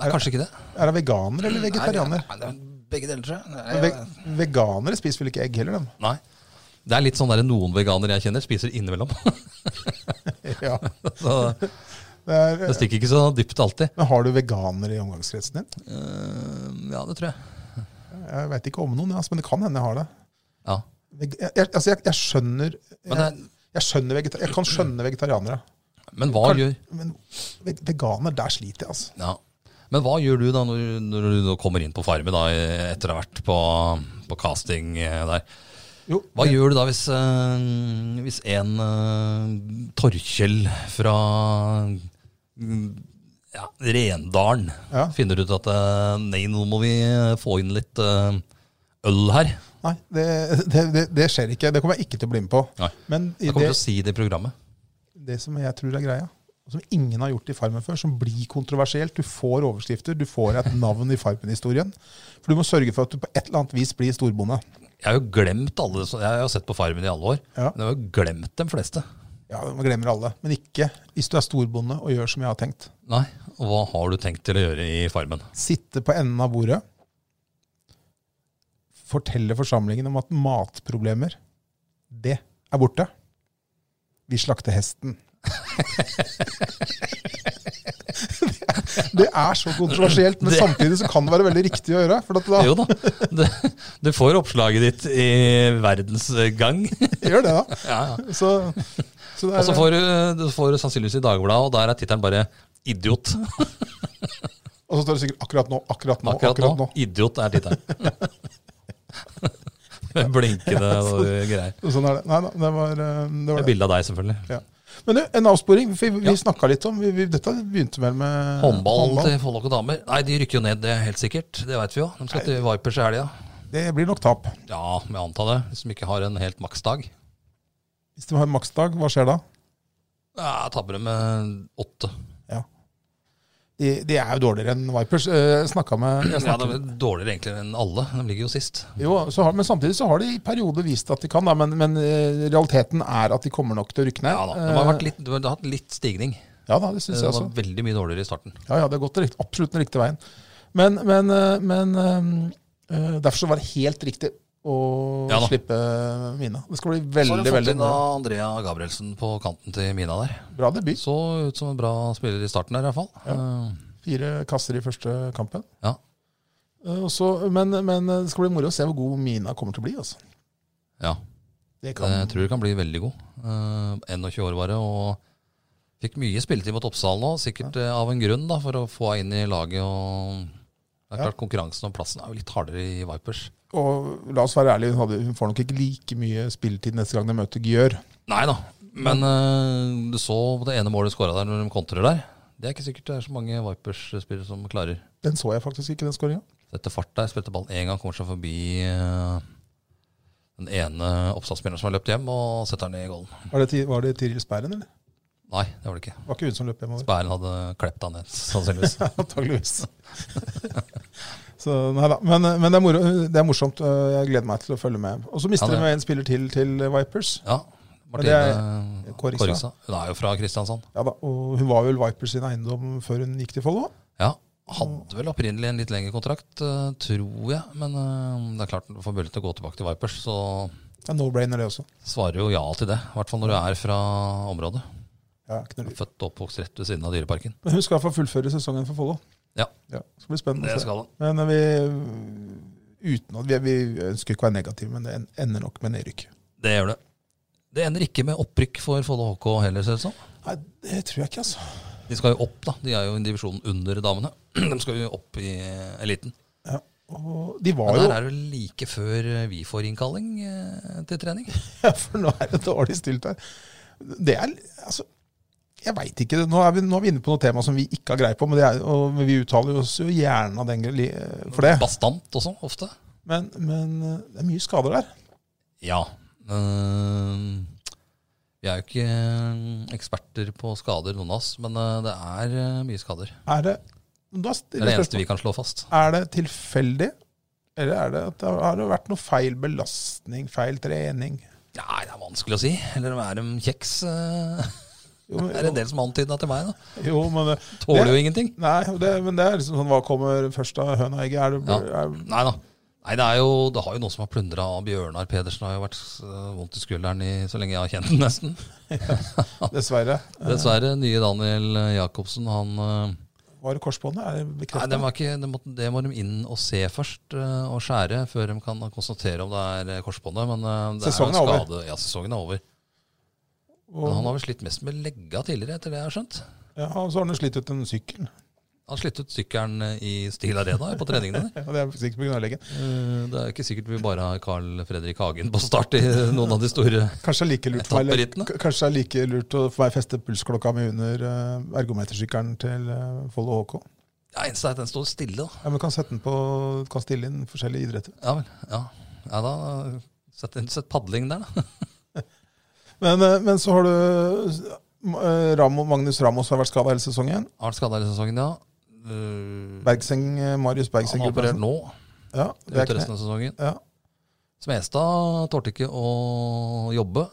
Nei, kanskje ikke det.
Er hun veganer eller vegetarianer?
Nei, det er begge deler, tror jeg.
Men
Nei,
Ve veganere spiser vel ikke egg heller, de?
Nei. Det er litt sånn der noen veganere jeg kjenner, spiser innimellom.
Ja.
Så
Det er,
det stikker ikke så dypt alltid.
men har du veganere i omgangskretsen din?
Eh, ja, det tror jeg.
Jeg veit ikke om noen, altså, men det kan hende jeg har det.
Ja.
Veg- Jeg, jeg, altså, jeg, jeg skjønner
Men
jeg,
det
jeg, skjønner vegeta jeg kan skjønne vegetarianere.
Men hva
Kan-
gjør
Men ve- veganer, der sliter jeg, altså.
Ja. Men hva gjør du da når, når du nå kommer inn på Farmen da, etter å ha vært på, på casting eh, der?
Jo,
Hva gjør du da hvis, eh, hvis en eh, Torkjell fra mm, ja, Rendalen
Ja.
finner ut at eh, nei, nå må vi få inn litt eh, øl her?
Nei, det, det, det, det skjer ikke. Det kommer jeg ikke til å bli med på.
Nei.
Men i
Da
det,
kommer du til å si det i programmet.
det som jeg tror er greia, og som ingen har gjort i Farmen før, som blir kontroversielt Du får overskrifter, du får et navn i Farmen-historien. For du må sørge for at du på et eller annet vis blir storbonde.
Jeg har jo glemt alle, så- jeg har jo sett på Farmen i alle år,
Ja.
men jeg har jo glemt de fleste.
Ja, Man glemmer alle. Men ikke hvis du er storbonde og gjør som jeg har tenkt.
Nei, og hva har du tenkt til å gjøre i Farmen?
Sitte på enden av bordet. Fortelle forsamlingen om at matproblemer, det er borte. Vi slakter hesten. Det er så kontroversielt, men
Det-
samtidig så kan det være veldig riktig å gjøre. For at da,
Jo da. Du, du får oppslaget ditt i verdensgang.
gjør det, da.
Ja, ja.
Så, så det
Og så
er,
får du, du får sannsynligvis i Dagbladet, og der er tittelen bare 'Idiot'.
og så står det sikkert 'akkurat nå', 'akkurat nå',
Akkurat, nå.
akkurat nå.
Idiot er tittelen. Med Blinkende og greier.
Og Sånn er det. Nei da, det var eh, det. Var
Med
det.
bilde av deg, selvfølgelig.
Ja. Men du, en avsporing. for Vi, vi
Ja.
snakka litt om vi, vi, Dette begynte vel med
Håndball, til Follok og damer. Nei, de rykker jo ned, det er helt sikkert. Det veit vi jo. De skal til Vipers i helga.
Det blir nok tap.
Ja, må jeg anta det. Hvis de ikke har en helt maksdag.
Hvis de har maksdag, hva skjer da?
Ja, taper de med åtte.
De, de er jo dårligere enn Vipers. Eh, snakket med, jeg
Ja,
snakket
de er dårligere egentlig enn alle. De ligger jo sist.
Jo, så har, men samtidig så har de i perioder vist at de kan, da, men, men eh, realiteten er at de kommer nok til å rykke ned.
Ja da. De har, vært litt, de har hatt litt stigning.
Eh, ja da, det syns
Det
jeg
var
også.
veldig mye dårligere i starten.
Ja, ja, det har gått den rikt- absolutt den riktige veien. Men, men, eh, men eh, eh, derfor så var det helt riktig å
Ja da.
slippe Mina. Det skal bli
Så har de
veldig,
fått
veldig
inn da Andrea Gabrielsen på kanten til Mina der.
bra debut.
Så ut som en bra spiller i starten der, iallfall. Ja.
Fire kasser i første kampen.
ja.
Eh, og så- men, men eh, det skal bli moro å se hvor god Mina kommer til å bli. Altså.
ja.
Det kan,
Jeg tror det kan bli veldig god. Eh, 21 år bare, og fikk mye spilletid mot Oppsal nå. Sikkert eh, av en grunn, da, for å få henne inn i laget. og det er
Ja.
klart Konkurransen om plassen er jo litt hardere i Vipers.
og la oss være ærlige, hun, hadde, hun får nok ikke like mye spilletid neste gang de møter Gjør.
Nei da, men eh, du så det ene målet du skåra der når de kontrer der. Det er ikke sikkert det er så mange Vipers-spillere som klarer.
Den så jeg faktisk ikke, den skåringa.
Setter fart der, spilte ballen én gang, kommer seg forbi eh, den ene oppsatsspilleren som har løpt hjem, og setter den i gålen.
Var det, Ti- var det Tiril Sperren, eller?
Nei, det var det ikke.
Var ikke hun som løp hjemover?
Bæren hadde klept han ned, sannsynligvis.
Antageligvis. så nei da. Men, eh, men det, er moro, det er morsomt. øh, Jeg gleder meg til å følge med. Og så mister
Ja, det-
de en spiller til til Vipers.
Ja,
Men det
Martine
er
eh,
Kårikstad.
Kårikstad. Hun er jo fra Kristiansand.
Ja da, Og hun var vel Vipers sin eiendom før hun gikk til Follo.
Ja, hadde vel opprinnelig en litt lengre kontrakt, eh, tror jeg. Men eh, det er klart, når du får mulighet til å gå tilbake til Vipers, så
Det er no-brainer, det også.
svarer jo ja til det. I hvert fall når du er fra området.
Ja, ikke noe lyd.
Født og oppvokst rett ved siden av Dyreparken.
men hun skal få fullføre sesongen for Follo.
Ja.
det skal bli spennende
Det
å se.
skal han.
Men øh, vi, uten at, vi, vi ønsker ikke å være negative, men det en- ender nok med nedrykk.
Det gjør det. Det ender ikke med opprykk for Follo HK heller, ser det ut som.
Nei, det tror jeg ikke, altså.
De skal jo opp, da. De er jo i divisjonen under damene. De skal jo opp i eh, eliten.
Ja. Og de var jo
Men der er det vel like før vi får innkalling eh, til trening.
Ja, for nå er det dårlig stilt her. Det er Altså, jeg veit ikke. Nå er, vi, nå er vi inne på noe tema som vi ikke har greie på, men, det er, og, men vi uttaler oss jo gjerne av den grunn li- eh, for det.
Bastant også, ofte.
Men, men eh, det er mye skader der.
Ja. Ehm, Vi er jo ikke eh, eksperter på skader, noen av oss, men eh, det er eh, mye skader.
Er det da
Det
stiller
er det
jeg
eneste
spørsmål.
vi kan slå fast.
Er det tilfeldig? Eller er det at det har- har det vært noe feil belastning, feil trening?
Nei, det er vanskelig å si. Eller er de kjeks? eh?
Jo,
Det er en
men,
del som antyder til meg, da.
jo, men det-
Tåler jo ingenting.
Nei, og det, men det er liksom sånn Hva kommer først av høna og egget? Er det,
Ja.
er,
Nei da. Nei, det er jo det har jo noen som har plundra av Bjørnar Pedersen. Har jo vært eh, vondt i skulderen i, så lenge jeg har kjent den, nesten.
dessverre.
Dessverre. Nye Daniel Jacobsen, han eh,
Var det korsbåndet? Er det
Nei,
bekreftet?
det, var ikke, det, må, det må de inn og se først, eh, og skjære, før de kan konstatere om det er eh, korsbåndet. Men eh, det
Sesongen
er
er
jo
over.
en skade. Ja, sesongen er over. Men han
Og,
har vel slitt mest med legga tidligere, etter det jeg har skjønt.
ja, og så har han jo slitt ut en sykkel.
Han slitt ut sykkelen eh, i Stil Arena på treningene. der.
Ja, det er sikkert på gnarlegen.
Eh, Det er jo ikke sikkert vi bare har Carl Fredrik Hagen på start i noen av de store
Kanskje det er like lurt, for meg,
Etapperittene.
k- kanskje det er like lurt å få meg feste pulsklokka mi under eh, ergometersykkelen til eh, Follo HK.
Ja, eneste er at den står stille, da.
Ja, men kan sette den på, kan stille inn forskjellige idretter.
Ja vel. Ja, ja da Sett, sett padling der, da.
Men, eh, men så har du eh, Ramo, Magnus Ramos har vært skada hele sesongen.
Har vært skada i sesongen, ja. Eh,
Bergseng, eh, Marius
han
Bergseng.
har operert nå,
Ja,
ut
det er
resten
kne.
av sesongen.
Ja.
Smestad tålte ikke å jobbe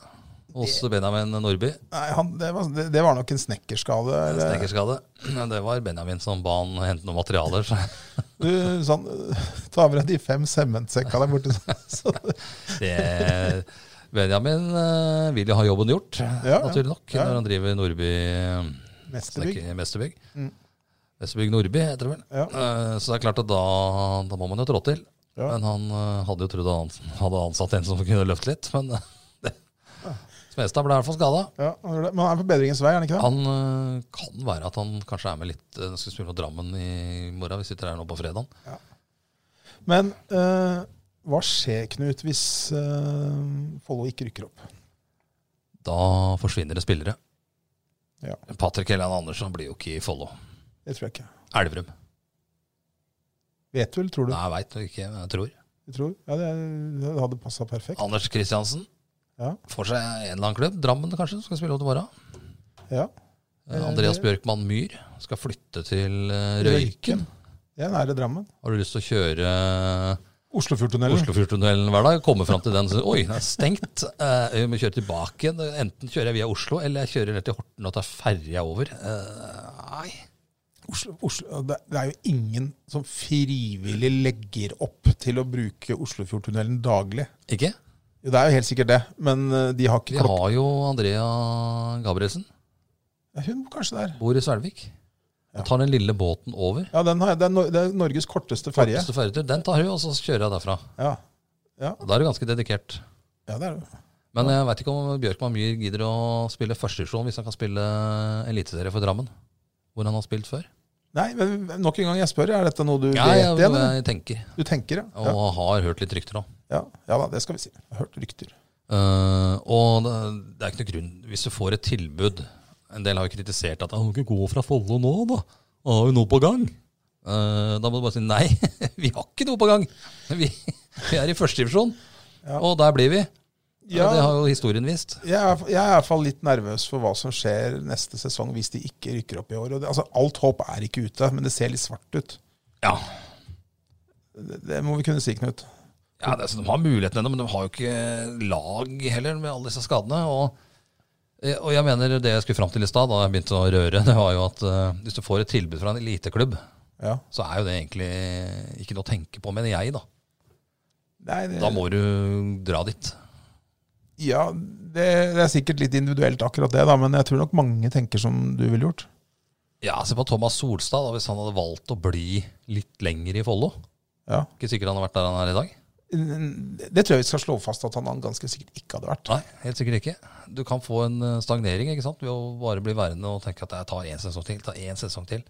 hos Benjamin Nordby.
Nei, han, det, var, det, det var nok en snekkerskade. eller-
Snekkerskade. Det var Benjamin som ba han hente noen materialer. Så
Du, sånn, eh, ta med deg de fem sementsekka der borte. Så,
det, Benjamin eh, vil jo ha jobben gjort,
ja.
naturlig nok,
Ja.
når han driver Nordby eh,
neste bygg.
snekker- mesterbygg.
Mm.
Vesterbygg Nordby heter det vel.
Ja.
Eh, Så det er klart at da, da må man jo trå til.
Ja.
Men han eh, hadde jo trodd han hadde ansatt en som kunne løfte litt, men eh, det Smestad ble i hvert fall skada.
Ja, han gjør det. Men han er på bedringens vei, er han ikke det?
Han eh, kan være at han kanskje er med litt eh, Skal spille mot Drammen i morgen. Vi sitter her nå på fredag.
Men eh, hva skjer, Knut, hvis eh, Follo ikke rykker opp?
Da forsvinner det spillere.
Ja.
Patrick Helland Andersen blir jo ikke i Follo.
Det tror jeg ikke.
Elverum.
Vet du, eller tror du?
Nei, jeg veit ikke, men jeg tror.
Jeg tror. Ja, det, det hadde passa perfekt.
Anders Kristiansen
Ja.
får seg en eller annen klubb. Drammen kanskje, skal spille mot i morgen.
Ja.
Eh, Andreas Bjørkmann Myhr skal flytte til eh, Røyken.
Det er nære Drammen.
Har du lyst til å kjøre eh,
Oslofjordtunnelen.
Oslofjordtunnelen hver dag? Komme fram til den så, Oi, den er stengt. Eh, Vi må kjøre tilbake igjen. Enten kjører jeg via Oslo, eller jeg kjører ned til Horten og tar ferja over. Eh, Nei.
Oslo, Oslo, det det er jo ingen som frivillig legger opp til å bruke Oslofjordtunnelen daglig.
Ikke?
Jo, det er jo helt sikkert det, men eh, de har
Vi
ikke klokke.
har jo Andrea Gabrielsen.
Ja, Hun bor kanskje der.
Bor i Svelvik. Og tar den lille båten over.
Ja, den har jeg. Det er, Nor det er Norges korteste ferje.
Korteste ferjetur. Den tar hun, og så kjører jeg derfra.
Ja.
Da er du ganske dedikert.
ja, det er det.
Men jeg veit ikke om Bjørkman Myhr gidder å spille førstedivisjon hvis han kan spille eliteserie for Drammen. Hvor han har spilt før.
Nei, men nok en gang jeg spør, er dette noe du
Ja,
vet
ja,
igjen?
noe
eller?
jeg tenker.
Du tenker, ja.
Og
ja.
har hørt litt rykter om.
Ja, ja da, det skal vi si. Jeg har hørt rykter.
Eh, og det, det er ikke noe grunn Hvis du får et tilbud En del har jo kritisert at Han kan ikke gå fra Follo nå, da. Han har jo noe på gang. Eh, da må du bare si nei, vi har ikke noe på gang. Vi, vi er i førstedivisjon,
Ja.
og der blir vi.
Ja,
Det har jo historien vist.
jeg er, jeg er i hvert fall litt nervøs for hva som skjer neste sesong hvis de ikke rykker opp i år. Og det, altså, alt håp er ikke ute, men det ser litt svart ut.
Ja,
Det, det må vi kunne si, Knut.
Ja, det er, så De har muligheten ennå, men de har jo ikke lag heller, med alle disse skadene. Og, eh, og jeg mener det jeg skulle fram til i stad, da jeg begynte å røre, det var jo at eh, hvis du får et tilbud fra en eliteklubb,
Ja.
så er jo det egentlig ikke noe å tenke på, mener jeg, da.
Nei, det,
Da må du dra dit.
ja det, det er sikkert litt individuelt akkurat det, da, men jeg tror nok mange tenker som du ville gjort.
Ja, se på Thomas Solstad, da, hvis han hadde valgt å bli litt lenger i Follo.
Ja.
Ikke sikkert han har vært der han er i dag.
Det tror jeg vi skal slå fast at han ganske sikkert ikke hadde vært.
Nei, helt sikkert ikke. Du kan få en eh, stagnering ikke sant? ved å bare bli værende og tenke at jeg tar én sesong til, tar én sesong til.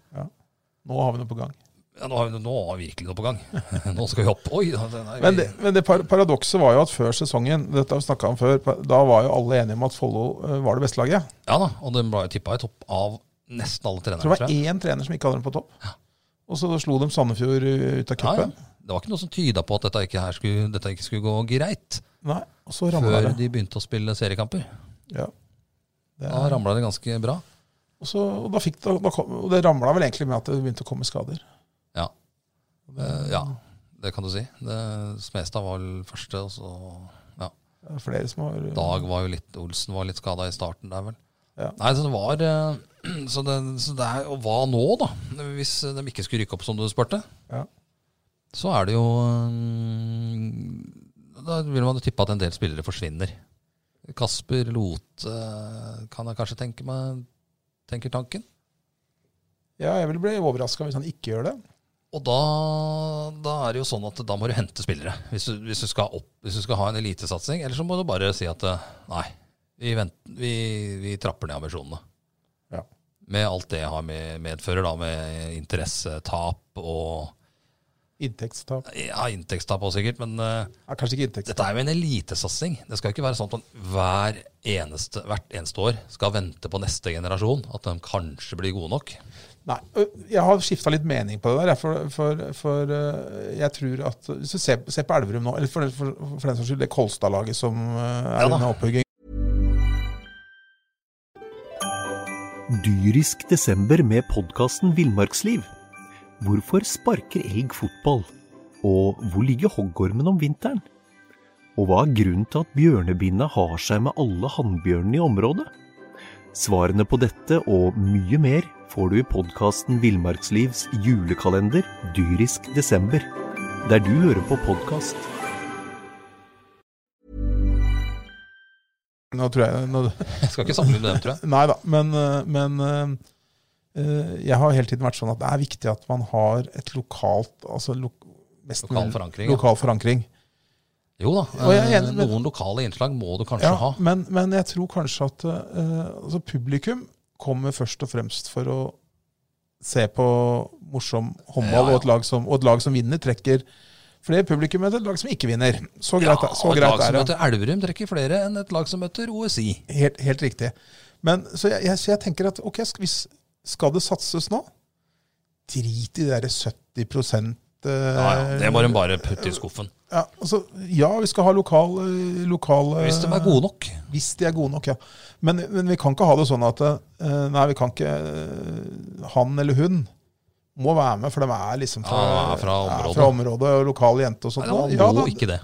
Nå har vi noe på gang.
Ja, nå, har vi, nå har vi virkelig noe på gang. Nå skal vi opp. Oi, da, den er-
Men det, men det par paradokset var jo at før sesongen, dette har vi snakka om før, pa- da var jo alle enige om at Follo eh, var det beste laget.
Ja da, og den ble jo tippa i topp av nesten alle
Jeg tror
trenere.
det var én trener som ikke hadde dem på topp. Og så slo de Sandefjord eh, ut av
Ja, ja.
cupen.
Det var ikke noe som tyda på at dette ikke, her skulle, dette ikke skulle gå greit,
Nei, Og så ramla
før
Sånn det.
de begynte å spille seriekamper.
Ja. Det
Da
er,
ramla det ganske bra.
og, så, og, da fikk, da, da kom, og det ramla vel egentlig med at det begynte å komme skader.
Ja. Eh, ja, det kan du si. Det, Smestad var vel første, og så ja.
Det er flere som har
Dag var jo litt Olsen var litt skada i starten der, vel.
Ja.
Nei, så det var eh, så det, så det er, Og hva nå, da? Hvis de ikke skulle rykke opp, som du spurte.
Ja.
Så er det jo eh, Da vil man jo tippe at en del spillere forsvinner. Kasper Lote kan jeg kanskje tenke meg Tenker tanken.
Ja, jeg ville bli overraska hvis han ikke gjør det.
Og da, da er det jo sånn at da må du hente spillere. Hvis du, hvis du, skal, opp, hvis du skal ha en elitesatsing. Eller så må du bare si at eh, nei, vi, venter, vi, vi trapper ned ambisjonene.
Ja.
Med alt det jeg har med, medfører, da, med interessetap og
Inntektstap.
ja, inntektstap også sikkert. Men eh,
Ja, kanskje ikke inntektstap.
dette er jo en elitesatsing. Det skal jo ikke være sånn at man hver eneste, hvert eneste år skal vente på neste generasjon. At de kanskje blir gode nok.
Nei, ø, Jeg har skifta litt mening på det der. jeg, For, for, for ø, jeg tror at Hvis du ser, ser på Elverum nå, eller for, for, for den saks skyld det Kolstad-laget som ø, er
Ja da.
under opphugging
Dyrisk desember med podkasten Villmarksliv. Hvorfor sparker elg fotball? Og hvor ligger hoggormen om vinteren? Og hva er grunnen til at bjørnebinna har seg med alle hannbjørnene i området? Svarene på dette og mye mer får du i podkasten Villmarkslivs julekalender Dyrisk desember, der du hører på podkast.
Nå tror jeg nå,
Jeg skal ikke sammenligne dem, tror jeg.
Nei da, men, ø, men ø, eh, jeg har hele tiden vært sånn at det er viktig at man har et lokalt altså lo, mest
Lokal
mulig-
forankring, ja.
Lokal forankring.
Jo da,
Og jeg er
eh,
enig med-
noen lokale innslag må du kanskje
Ja,
ha.
men, men jeg tror kanskje at eh, altså publikum kommer først og fremst for å se på morsom håndball,
Ja,
Og,
ja.
et lag som, og et lag som vinner, trekker flere publikum enn et lag som ikke vinner. Så
Ja,
greit, er- så
og et
greit
lag som
er det.
møter Elverum, trekker flere enn et lag som møter OSI.
Helt, helt riktig. Men, så, jeg, jeg, så jeg tenker at ok, skal, hvis, skal det satses nå, drit i det derre 70 eh,
Ja, ja, Det må de bare putte i skuffen.
ja, altså, ja, vi skal ha lokal, eh, lokale
Hvis de er gode nok.
Hvis de er gode nok, ja. Men, men vi kan ikke ha det sånn at eh, Nei, vi kan ikke eh, Han eller hun må være med, for de er liksom fra,
Ja, er fra området.
fra området og lokal jente og sånt.
Nei, da
ja,
må
da,
ikke det.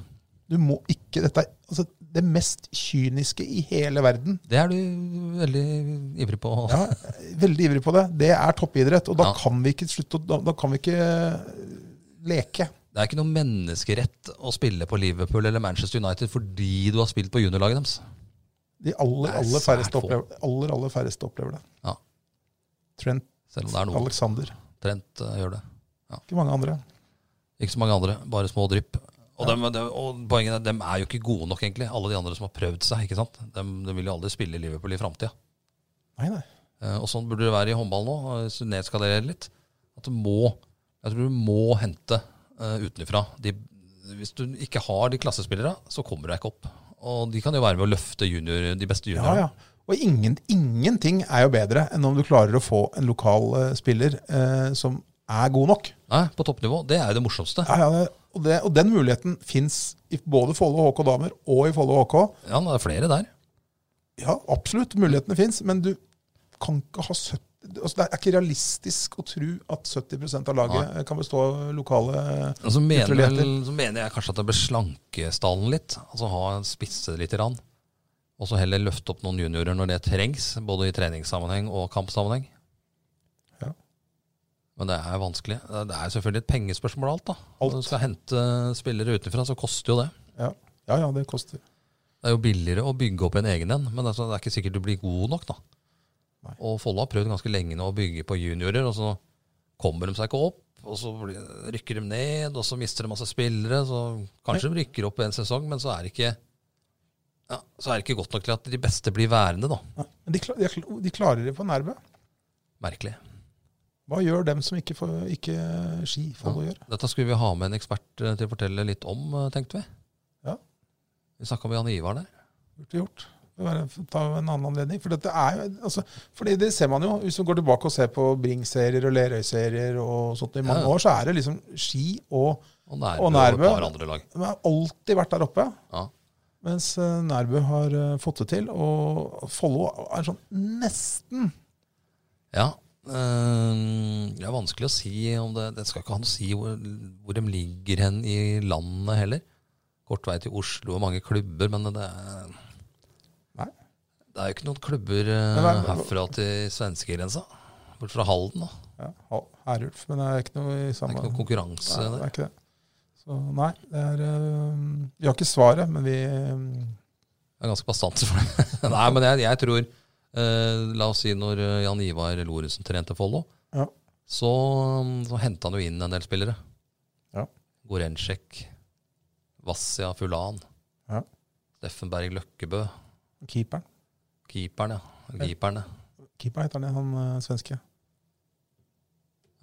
du må ikke Dette er altså, det mest kyniske i hele verden.
Det er du veldig ivrig på.
Ja, veldig ivrig på det. Det er toppidrett, og da
Ja.
kan vi ikke slutte å- da, da kan vi ikke eh, leke.
Det er ikke noe menneskerett å spille på Liverpool eller Manchester United fordi du har spilt på juniorlaget deres.
De aller,
Det er
aller
svært
færreste
få.
opplever, aller, aller færreste opplever det.
Ja.
Trent
Selv om det er noe
Alexander.
Trent eh, gjør det.
Ikke mange andre.
Ikke så mange andre, bare små drypp. Og, dem, dem, og poenget er, dem er jo ikke gode nok, egentlig. Alle de andre som har prøvd seg. ikke sant? De, vil jo aldri spille i Liverpool i framtida.
Nei, nei.
Eh, Og sånn burde det være i håndball nå, eh, hvis du nedskalerer litt. At du må, jeg tror du må hente eh, utenfra. De, hvis du ikke har de klassespillere, så kommer du deg ikke opp. Og de kan jo være med å løfte junior, de beste
Ja,
juniorene.
ja. Og ingen, ingenting er jo bedre enn om du klarer å få en lokal eh, spiller eh, som er god nok.
Nei, eh, på toppnivå. Det er jo det morsomste.
Ja, ja, det, og, det, og den muligheten fins i både Follo HK damer og i Follo HK.
Ja, det er flere der.
Ja, absolutt, mulighetene fins, men du kan ikke ha 70 altså Det er ikke realistisk å tro at 70 av laget eh, kan bestå av lokale eh,
Og så mener,
Utroligheter.
vel, så mener jeg kanskje at det bør slanke stallen litt. Altså ha en spisse litt. Rann. Og så heller løfte opp noen juniorer når det trengs, både i treningssammenheng og kampsammenheng.
Ja.
Men det er vanskelig. Det er selvfølgelig et pengespørsmål alt, da.
Alt.
Når du skal hente spillere utenfra, så koster jo det.
Ja, ja, ja det koster.
Det er jo billigere å bygge opp en egen en, men altså, det er ikke sikkert du blir god nok, da.
Nei.
Og Follo har prøvd ganske lenge nå å bygge på juniorer, og så kommer de seg ikke opp. Og så blir- rykker de ned, og så mister de masse spillere. Så kanskje de rykker opp en sesong, men så er det ikke ja, så er det ikke godt nok til at de beste blir værende, da.
Nei, Men de, kla- de, kla- de klarer det på Nærbø.
Merkelig.
Hva gjør dem som ikke, får, ikke Ski Follo gjør?
Dette skulle vi ha med en ekspert eh, til å fortelle litt om, eh, tenkte vi.
Ja.
Vi snakka med Jan Ivar der.
burde gjort. Det var en- Ta en annen anledning. For dette er jo, altså, fordi det ser man jo, hvis man går tilbake og ser på Bring-serier og Lerøy-serier og sånt i mange
Ja.
år, så er det liksom ski og
Og Nærbø
Og
og,
Nærbø.
et par andre lag.
De har alltid vært der oppe.
Ja.
Mens eh, Nærbø har eh, fått det til. Og Follo er sånn nesten
Ja. eh, Det er vanskelig å si om det Det skal ikke ha noe å si hvor, hvor de ligger hen i landet heller. Kort vei til Oslo og mange klubber, men det er
Nei.
Det er jo ikke noen klubber eh,
Men hva-
herfra til svenskegrensa. Bort fra Halden, da.
ja, Hal- Herulf, men det er ikke noe i
Det er
samme
ikke noen konkurranse
Nei, det
der.
er ikke det. Så nei, det er eh, Vi har ikke svaret, men vi eh,
Jeg er ganske bastant for det. Nei, men jeg, jeg tror eh, La oss si når eh, Jan Ivar Lorentzen trente Follo,
Ja.
så, så henta han jo inn en del spillere.
Ja.
Gorencek, Vassia Fulan,
Ja.
Steffenberg Løkkebø,
Keeperen.
keeperen, ja. Keeperen, ja.
Keeperen heter han, han eh, svenske.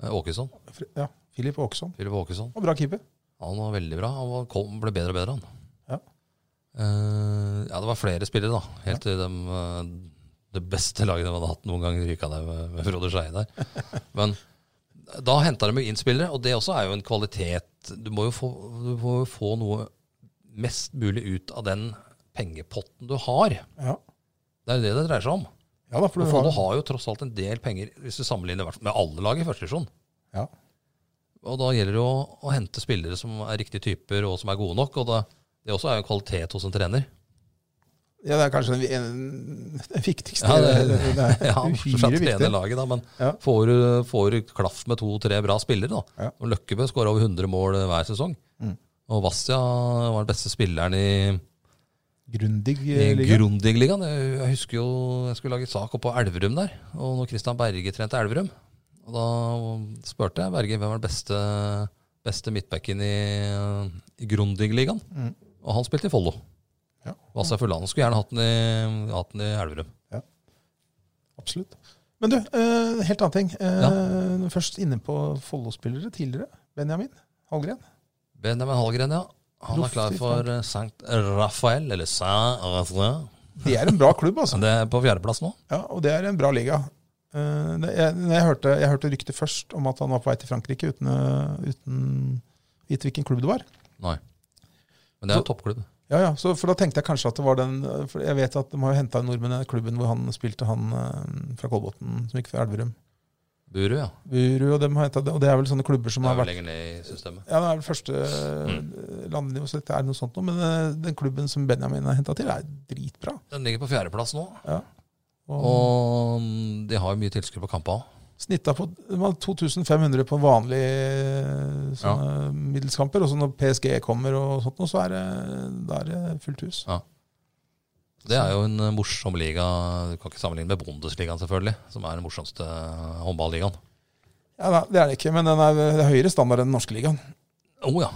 Eh, Åkesson.
Fri- Ja, Filip Åkesson.
Philip Åkesson.
Og bra keeper.
Han var veldig bra. Han var, kom, ble bedre og bedre, han.
Ja.
Eh, ja, det var flere spillere, da. Helt til dem, eh, det beste laget de hadde hatt noen gang, ryka ned med, med Frode Skeie der. Men da henta de jo inn spillere, og det også er jo en kvalitet. Du må jo få, du må jo få noe mest mulig ut av den pengepotten du har.
Ja.
Det er jo det det dreier seg om.
Ja da, for du
Og
har
Follo har jo tross alt en del penger, hvis du sammenligner i hvert fall med alle lag i første divisjon.
Ja.
Og da gjelder det å, å hente spillere som er riktige typer, og som er gode nok. Og da, det også er jo en kvalitet hos en trener.
Ja, det er kanskje den, en, den viktigste.
Ja, det,
det, det er
ja,
uhyre
fortsatt
viktig.
trener laget, da, men
Ja.
får, du- får du klaff med to-tre bra spillere, da.
Ja. Mm.
Og Løkkebø skårer over 100 mål hver sesong. Og Vassia var den beste spilleren i
Grundig eh, liga.
Grundigligaen. Jeg jeg husker jo jeg skulle lage sak oppå Elverum der. Og når Christian Berge trente Elverum, og da spurte jeg Berge hvem var den beste, beste midtbacken i, i Grundigligaen.
Mm.
Og han spilte i Follo.
Ja.
Vasa Fulland skulle gjerne hatt den i, hatt den i Elverum.
Absolutt. Men du, eh, helt annen ting. Eh,
Ja.
Først inne på Follo-spillere tidligere. Benjamin Hallgren.
Benjamin Hallgren, ja. Han er
Lofty,
klar for eh, Sankt Rafael, eller Saint-Raphael.
Det er en bra klubb, altså.
Det er på fjerdeplass nå.
Ja, og det er en bra liga. Eh, det, jeg, når jeg, hørte, jeg hørte ryktet først om at han var på vei til Frankrike uten, eh, uten å vite hvilken klubb det var.
Nei. Men det er jo toppklubb.
Ja, ja, så for da tenkte jeg kanskje at det var den eh, For jeg vet at de har jo henta en nordmenn i den klubben hvor han spilte, han eh, fra Kolbotn, som gikk fra Elverum.
Buru, ja.
Buru og dem har hentet det, og det er vel sånne klubber som
Det
har
er
vært
jo lenger ned i systemet.
Ja, det er vel første eh, landnivå, så dette er noe sånt noe. Men eh, den klubben som Benjamin er henta til, er dritbra.
Den ligger på fjerdeplass nå.
Og
Og mm, de har jo mye tilskudd på kampene.
Snitta på det var 2500 på vanlige sånne middelskamper. Og så når PSG kommer og sånt noe, så er det, da er det fullt hus.
Det er jo en eh, morsom liga. Du kan ikke sammenligne med Bundesligaen, selvfølgelig, som er den morsomste eh, håndballigaen.
Ja, nei, Det er det ikke, men den er, det er høyere standard enn den norske ligaen.
Å ja.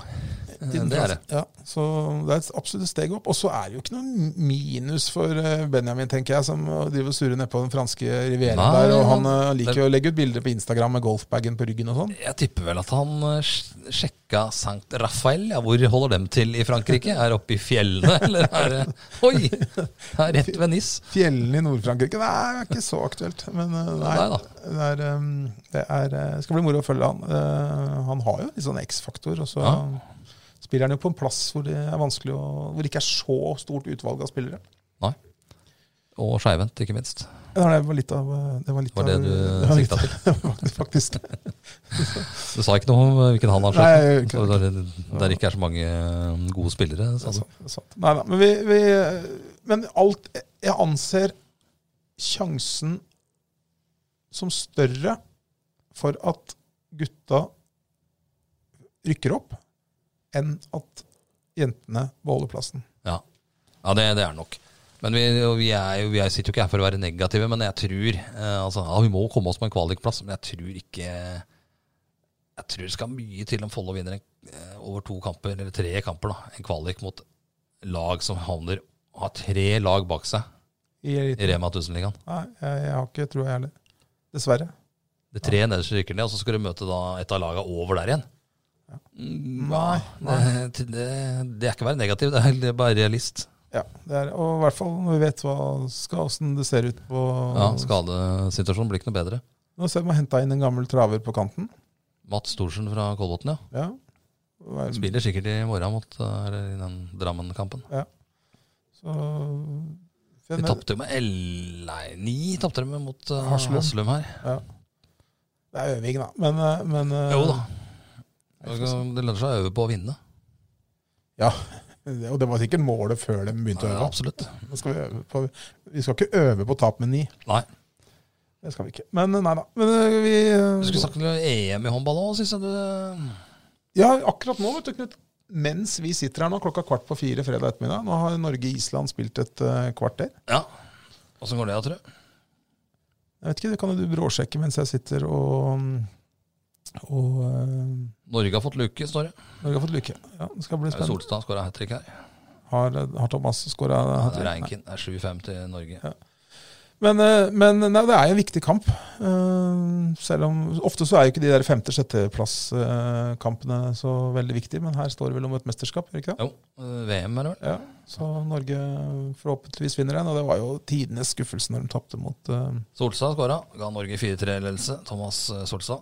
Eh, Det er det.
Ja, så det er et absolutt steg opp. Og så er det jo ikke noe minus for eh, Benjamin, tenker jeg, som driver og surrer nedpå den franske rivieraen
Nei,
der. Og han
han-
eh, liker jo å legge ut bilder på Instagram med golfbagen på ryggen og sånn.
Jeg tipper vel at han eh, sj- sjekka Sankt Rafael. Ja, hvor holder dem til i Frankrike? Er det oppe i fjellene, eller er det Oi! Det er rett ved Nis.
Fjellene i Nord-Frankrike Nei, det er ikke så aktuelt. Men eh, nei,
Nei da.
det, er, em, det er, eh, skal bli moro å følge han. Eh, Han har jo litt sånn X-faktor. Og så
Ja.
spiller han jo på en plass hvor det er vanskelig å, hvor det ikke er så stort utvalg av spillere.
Og skeivhendt, ikke minst.
Det var- det var litt av eh, Det var, litt
Var det
av-
du
var
sikta til?
litt- Faktisk.
Du sa ikke noe om eh, hvilken han har
Nei,
skjønt.
jeg gjør ikke
Så Der, der ikke er så mange eh, gode spillere,
Det
sa
er
du.
sant, det er sant. Nei da. Men, vi, vi, men alt Jeg anser sjansen som større for at gutta rykker opp, enn at jentene beholder plassen.
Ja, ja det, det er nok. Men vi, og vi, er jo, vi er, sitter jo ikke her for å være negative, men jeg tror eh, altså, ja, Vi må komme oss på en kvalikplass, men jeg tror ikke Jeg tror det skal mye til om Follo vinner en, eh, over to kamper, eller tre kamper, da, en kvalik mot lag som havner har tre lag bak seg
I,
i Rema 1000-ligaen.
nei, jeg, jeg har ikke trua, jeg heller. Dessverre.
Det tre nederste rykker ned, og så skal du møte da et av lagene over der igjen. Mm,
Nei,
ja, Det, det, det er ikke å være negativ, det er- det er bare realist.
Ja, det er, og i hvert fall når vi vet hva skal, hvordan det ser ut på
Ja, Skadesituasjonen blir ikke noe bedre.
Nå ser vi har henta inn en gammel traver på kanten.
Mats Thorsen fra Kolbotn, ja.
Ja. Hva er-
Spiller sikkert i morgen mot eh, eller i den Drammen-kampen.
Så,
De tapte jo med L... Nei, ni tapte de med mot eh,
Haslum.
Haslum her.
Det er øving, da. Men, eh, men eh,
Jo da. Det lønner seg å øve på å vinne.
Og det var sikkert målet før de begynte å
Ja,
øve.
absolutt.
Nå skal vi, øve på, vi skal ikke øve på tap med ni.
Nei.
Det skal vi ikke. Men eh, nei da. Men eh, vi
Du
eh,
skulle snakke om EM i håndball òg, syns jeg du. eh,
Ja, akkurat nå, vet du, Knut. Mens vi sitter her nå, klokka kvart på fire fredag ettermiddag, nå har Norge-Island spilt et eh, kvarter.
Ja. Åssen går det, tror du?
Jeg vet ikke, det kan jo du bråsjekke mens jeg sitter og og eh,
Norge har fått luke, står det.
Norge har fått lykke. Ja, det skal bli
Det er
spennende.
Solstad skåra hat trick her.
Har, har Thomas skåra?
Det er Reinken Det er 7-5 til Norge.
Men, eh, men nei, det er jo en viktig kamp. Eh, Selv om Ofte så er jo ikke de der femte-sjetteplass-kampene eh, så veldig viktige, men her står det vel om et mesterskap, gjør det ikke det?
Jo, eh, VM er det vel?
Ja, Så Norge forhåpentligvis vinner den, og det var jo tidenes skuffelse når de tapte mot eh,
Solstad skåra. Ga Norge 4-3-ledelse. Thomas eh, Solstad.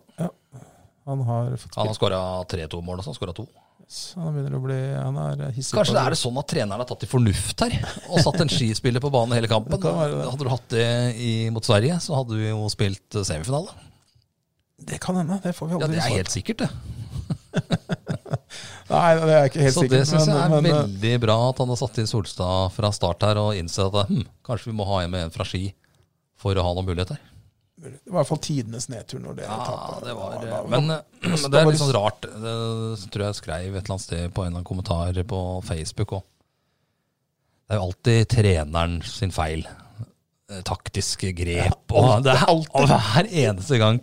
Han har fått
Han har skåra 3-2-mål også. Skåra to.
Så Han begynner å bli Han er hissig.
Kanskje det er det sånn at treneren har tatt til fornuft her, og satt en skispiller på banen hele kampen.
Det kan være det.
Hadde du hatt det i, mot Sverige, så hadde du jo spilt eh, semifinale.
Det kan hende. Det får vi
Ja,
aldri
Det er
svar
helt sikkert, det.
på. Nei, det er ikke helt
Så det
sikkert.
syns jeg er
men- men, eh,
veldig bra at han har satt inn Solstad fra start her, og innsett at hm, kanskje vi må ha en med en fra Ski for å ha noen muligheter.
det var i hvert fall tidenes nedtur når det
altså. Ja,
tapte.
Ah, det var,
Da- da-
men, eh, men det er litt sånn rart. Det tror jeg jeg skrev et eller annet sted på en eller annen kommentar på Facebook òg. Det er jo alltid treneren sin feil. Eh, Taktiske grep. og det er
alltid,
og hver eneste gang.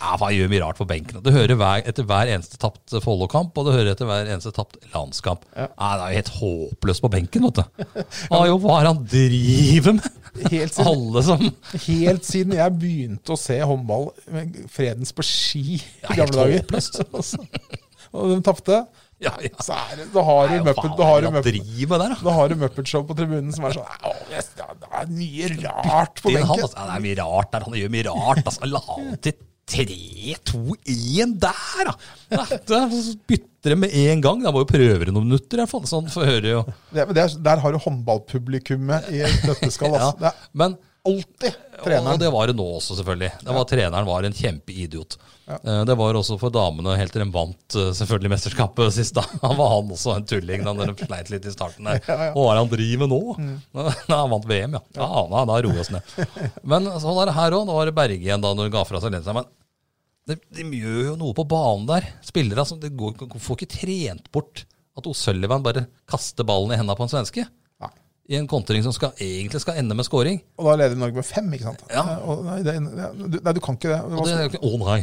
Ja, faen, jeg gjør mye rart på benken. og Det hører hver, etter hver eneste tapt Follo-kamp, og det hører etter hver eneste tapt landskamp. Nei, det er jo helt håpløst på benken, vet du. Ja, jo, hva er det han driver med?
Helt siden,
Alle som
helt siden jeg begynte å se håndball med Fredens på ski i
helt
gamle dager,
håpløst.
og de tapte,
Ja, ja.
så er det, da har du
Nei,
Muppet,
faen,
da har du
hva er det han
Muppet.
driver med der, da?
Da har du Muppet-show på tribunen som er sånn «Au, yes, Det er- det er mye rart på
Din hand,
benken.
altså. Ja, det er mye rart der. Han gjør mye rart. Altså. La han til 3-2-1 der, da! Nei, det er- så bytter de med en gang. Da må jo prøve det noen minutter, i hvert fall. Sånn får høre jo.
Det, men det er, der har du håndballpublikummet i et nøtteskall. Altså. Det
Ja.
er
Men
alltid
Og
treneren.
det var det nå også, selvfølgelig. Det var Treneren var en kjempeidiot. Eh, Det var også for damene, helt til de vant eh, selvfølgelig mesterskapet sist. Da Han var han også en tulling da de sleit litt i starten. der. Og hva er det han driver med nå?
Mm.
Da Han vant VM, ja. ja. Da, da roer vi oss ned. Men sånn er det her òg. Nå var det Berge igjen da når hun ga fra seg Lensa. Men de, de gjør jo noe på banen der. Spillere som de går, får ikke trent bort at O'Sullivan bare kaster ballen i hendene på en svenske.
Nei.
I en kontring som skal, egentlig skal ende med scoring.
Og da leder Norge med fem, ikke sant?
Ja.
Og nei, det, du, nei, du kan ikke det.
Og det er jo ikke, å nei.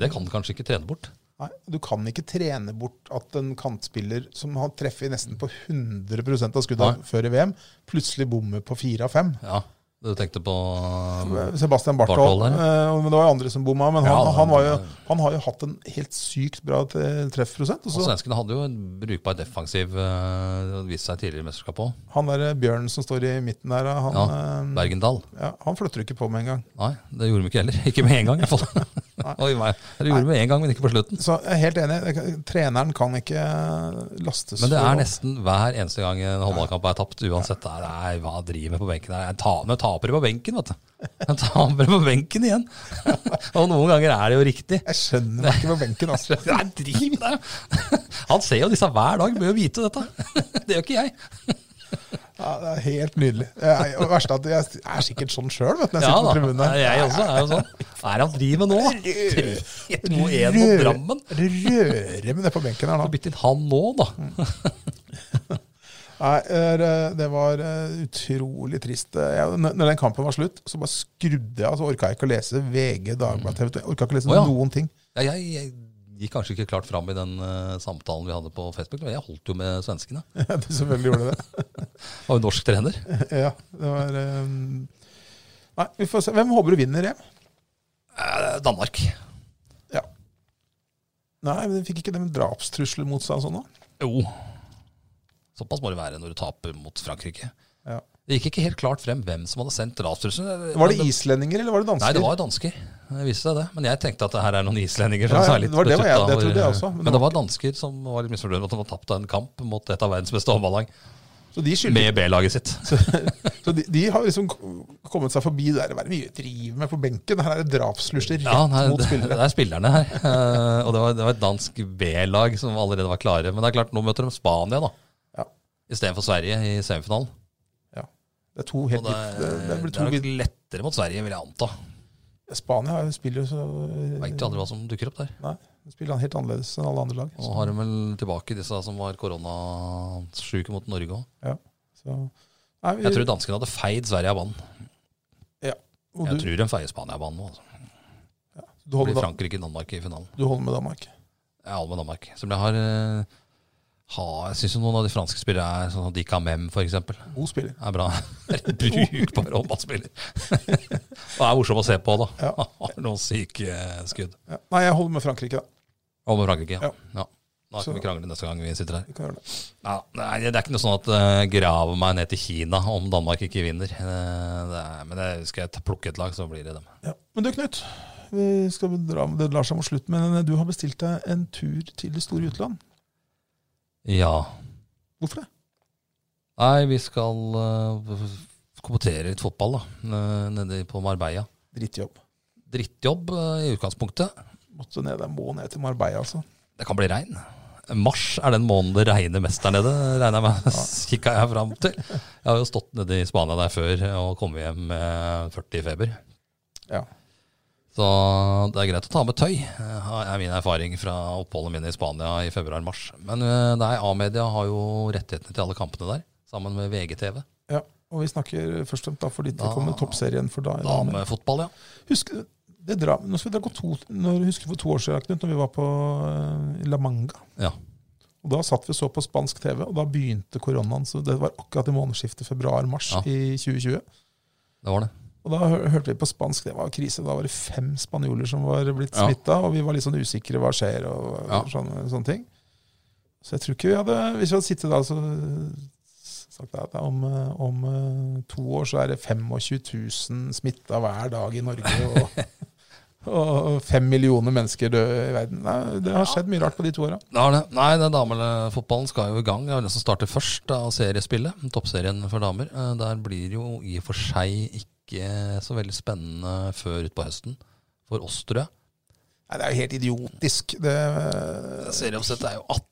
Det kan du kanskje ikke trene bort.
Nei, du kan ikke trene bort at en kantspiller som har treffet nesten på 100 av skuddene før i VM, plutselig bommer på fire av fem.
Ja, Du tenkte på
Sebastian Barthold.
Barthold,
eh, Men det var jo andre som bomma. Men han,
Mm. Ja,
han, var jo,
det-
han har jo hatt en helt sykt bra tre- treffprosent. Og
og
så
Svenskene hadde jo en brukbar defensiv uh, vist seg tidligere i mesterskapet òg.
han der Bjørnen som står i midten der, han,
Ja,
eh,
Bergendal.
ja, han flytter du ikke på med en gang.
Nei, det gjorde de ikke heller. Ikke med en gang, i hvert fall. Oi, nei. Det gjorde de med en gang, men ikke på slutten.
Så jeg er helt enig. det- Treneren kan ikke eh, lastes
Men det
for-
er nesten hver eneste gang en håndballkamp er tapt, uansett. Det er, nei, hva driver med på benken? Nei, En ta, men tapere på benken, vet du. En tapere på benken igjen. og noen ganger er det jo riktig.
Jeg skjønner meg ikke på benken, altså.
Det er driv der. Han ser jo disse hver dag, bør jo vite dette. Det gjør ikke jeg.
Ja, det er helt nydelig. Jeg, og det verste er at jeg er sikkert sånn sjøl, vet du, når jeg
Ja
sitter på
da,
tribunen der.
jeg også er jo sånn. Hva er det han driver med nå? 3-2-1 mot Drammen.
Røre røre med det på benken her nå.
Bytt inn han nå, da.
Nei, er, eh, det var eh, utrolig trist. Eh, Jeg, når når den kampen var slutt, så bare skrudde jeg. Altså, orka jeg ikke å lese VG, Dagbladet, TV 2. Jeg orka ikke å lese
Mm. Å, ja.
noen ting.
Ja, jeg, jeg gikk kanskje ikke klart fram i den eh, samtalen vi hadde på Facebook, men jeg holdt jo med svenskene.
du selvfølgelig gjorde det.
Var jo norsk trener.
ja, det var eh, Nei, vi får se. Hvem håper du vinner EM?
Eh, Danmark.
Ja. Nei, men de fikk ikke den drapstrusler mot seg og sånn, da?
Jo. Såpass må det være når du taper mot Frankrike.
Ja.
Det gikk ikke helt klart frem hvem som hadde sendt drapstrusselen.
Var det islendinger, eller var det dansker?
Nei, det var dansker. Det viste seg det. Men jeg tenkte at det her er noen islendinger
Ja,
som
ja,
ja, er litt
det var det var jeg-
betuttet
det
over-
trodde jeg også, men
Men,
det
det var dansker som var litt misfornøyd med at de var tapt av en kamp mot et av verdens beste håndballag
Så de skylder
med B-laget sitt.
Så de, de har liksom k- kommet seg forbi det der. Hva er det vi driver med på benken? Her er det drapslyster rett
Ja, nei,
mot
det, det
spillere.
er spillerne her. Eh, og det var, det var et dansk B-lag som allerede var klare. Men det er klart, nå møter de Spania da,
Ja.
istedenfor Sverige i semifinalen.
Ja. Det er to
Og
helt
det,
litt Det, det blir
det
to
er nok
vidt.
lettere mot Sverige, vil jeg anta.
Spania har jo- spiller jo så
Veit jo aldri hva som dukker opp der.
Nei, de spiller helt annerledes enn alle andre lag.
Og har de vel tilbake disse som var koronasjuke mot Norge òg.
Ja. Så, nei, vi,
Jeg tror danskene hadde feid Sverige av banen.
ja. Og
Jeg
du,
tror de feier Spania av banen nå. altså.
du,
blir
holder, da-
Frankrike-Danmark i finalen.
du holder med Danmark.
Jeg er all med Danmark. Som jeg har, eh, ha, jeg syns noen av de franske spillere er sånn som Dika Mem, f.eks. Er
God spiller.
bra. Er en Brukbar håndballspiller. Og er morsom å se på, da.
Ja.
Har noen syke eh, skudd.
Ja. Nei, jeg holder med Frankrike, da.
Og med Frankrike, ja.
Ja.
ja. Da
Så-
kan vi krangle neste gang vi sitter her.
Vi kan gjøre det.
Ja, nei, det er ikke noe sånn at jeg graver meg ned til Kina om Danmark ikke vinner. Eh, det er, men det, skal jeg ta- plukke et lag, så blir det dem.
Ja. Men du, Knut. Vi skal dra, det lar seg mot slutt, men eh, du har bestilt deg en tur til det store utland.
Ja.
Hvorfor det?
Nei, vi skal eh, kommentere litt fotball, da. eh, nede på Marbella.
Drittjobb.
drittjobb eh, i utgangspunktet.
Måtte ned, Jeg må ned til Marbella, altså.
Det kan bli regn. Mars er den måneden det regner mest der nede, regner jeg med. Kikka jeg fram til. Jeg har jo stått nede i Spania der før og kommet hjem med 40 i feber.
Ja.
Så det er greit å ta med tøy, eh, er min erfaring fra oppholdet mine i Spania i februar-mars. Men eh, nei, A-media har jo rettighetene til alle kampene der. Så sammen med VGTV.
Ja, og vi snakker først og fremst da for ditt vedkommende toppserien for da.
Damefotball, ja.
Husk, det dra, nå skal vi dra gå to, når, husker du for to år siden, Knut, når vi var på eh, La Manga.
ja.
Og Da satt vi og så på spansk TV, og da begynte koronaen. så Det var akkurat i månedsskiftet februar-mars
Ja.
i 2020.
Det var det.
Og Da hø- hørte vi på spansk, det var krise. Da var det fem spanjoler som var blitt
Ja.
smitta, og vi var litt sånn usikre hva skjer, og
Ja.
sånne, sånne ting. Så jeg tror ikke vi hadde Hvis vi hadde sittet da så sagt at om, eh, om eh, to år så er det 25 000 smitta hver dag i Norge, og, og fem millioner mennesker døde i verden. Nei, det har skjedd mye rart på de to åra.
Det var det. Nei, den damefotballen skal jo i gang. Det er vel den som starter først av seriespillet. Toppserien for damer. Eh, Der blir det jo i og for seg ikke så veldig spennende før utpå høsten. For oss, tror jeg.
Nei, det er jo helt idiotisk. Det,
Serieoppsettet er jo 18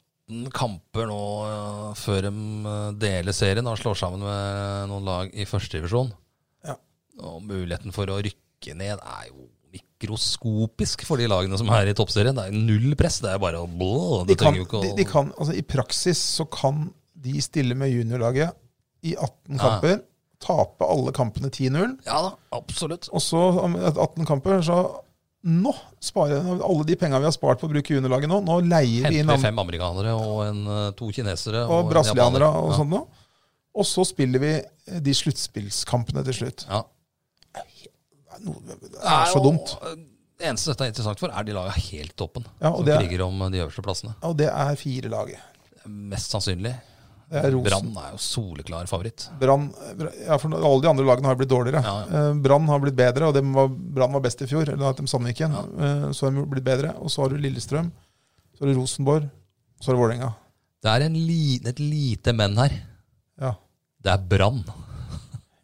kamper nå eh, før de eh, deler serien og slår sammen med noen lag i førstedivisjon.
Ja.
Og muligheten for å rykke ned er jo mikroskopisk for de lagene som er i toppserien. Det er jo null press. Det er bare å blå. Du
de kan,
trenger jo ikke å
de, de kan, altså, I praksis så kan de stille med juniorlaget i 18
Ja.
kamper, tape alle kampene 10-0,
Ja da, absolutt.
og så om et 18 kamper så nå sparer alle de penga vi har spart på å bruke juniorlaget nå, nå leier vi
Henter
inn
vi
andre
fem amerikanere og en, eh, to kinesere
og
en
brasilianere
japaner.
og sånt nå. Og så spiller vi eh, de sluttspillskampene til slutt.
Ja.
Det er, noe, det
Ja.
er så dumt.
Og, eh, Det eneste dette er interessant for, er de laga helt toppen.
Ja, og
som
det er-
kriger om de øverste plassene.
Og det er fire laget.
Mest sannsynlig.
Det er Rosen,
Brann er jo soleklar favoritt.
Brann Bra- ja, for Alle de andre lagene har blitt dårligere.
Ja,
Eh, Brann har blitt bedre, og dem var, Brann var best i fjor. Eller etter Sandviken. Eh, Så har de blitt bedre. Og så har du Lillestrøm, så har du Rosenborg, så har du Vålerenga.
Det er en li, et lite men her.
Ja.
Det er Brann.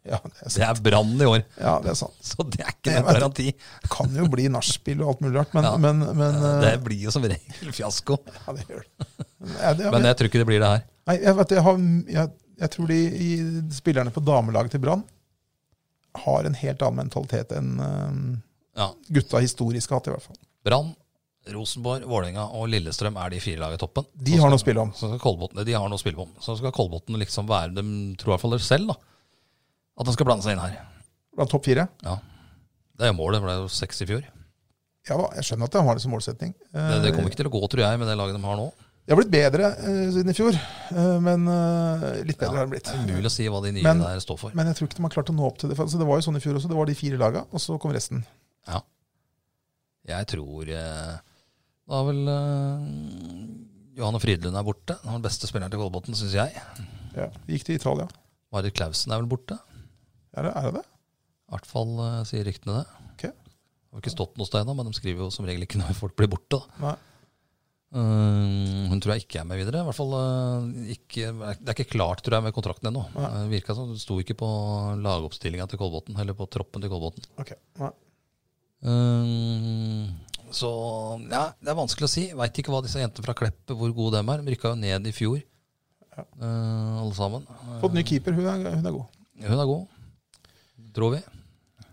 Ja, det er
Det
sant.
er Brann i år,
Ja, det er sant.
så det er ikke
Jeg
noen
vet-
garanti.
Det kan jo bli nachspiel og alt mulig rart, men,
Ja.
men, men eh,
Det blir jo som regel fiasko.
Ja, det gjør det. Ja, det
Men jeg tror ikke det blir det her.
nei, jeg, vet, jeg, har, jeg, jeg tror de i, spillerne på damelaget til Brann har en helt annen mentalitet enn eh,
Ja.
gutta historisk har hatt, i hvert fall.
Brann, Rosenborg, Vålerenga og Lillestrøm er de fire lagene i toppen.
De har noe å spille om.
Så skal Kolbotn, de har noe å spille på. Så skal Kolbotn liksom være De tror i hvert fall det selv, da. At de skal blande seg inn her.
Blant topp fire.
Ja. Det er jo målet. Det ble jo seks i fjor.
Ja da, jeg skjønner at de har det som målsetting. Eh,
Det, det kommer ikke til å gå, tror jeg, med det laget de har nå.
Jeg har blitt bedre eh, siden i fjor, eh, men eh, litt bedre har de blitt.
Umulig å si hva de nye
Men-
der står for.
Men jeg tror ikke de har klart å nå opp til det. For, altså, det var jo sånn i fjor også. Det var de fire laga, og så kom resten.
Ja. Jeg tror eh, Da er vel eh, Johanne Frydelund er borte. Han er den beste spilleren til Kolbotn, syns jeg.
Ja. Vi gikk til Italia.
Marit Klausen er vel borte.
Er det er det? det?
I hvert fall eh, sier ryktene det.
Ok.
Det har ikke stått noe sted ennå, men de skriver jo som regel ikke når folk blir borte. da.
Nei.
Eh, hun tror jeg ikke er med videre. I hvert fall eh, ikke, Det er ikke klart tror jeg, med kontrakten ennå.
Nei.
Uh, virka som det sto ikke på lagoppstillinga til Kolbotn, eller på troppen til Kolbotn.
Ok. Nei.
Eh, så ja, det er vanskelig å si. Veit ikke hva disse jentene fra Klepp hvor gode dem er. De rykka jo ned i fjor,
Ja.
eh, alle sammen. Eh,
Fått ny keeper. Hun er, hun er god.
hun er god, tror vi.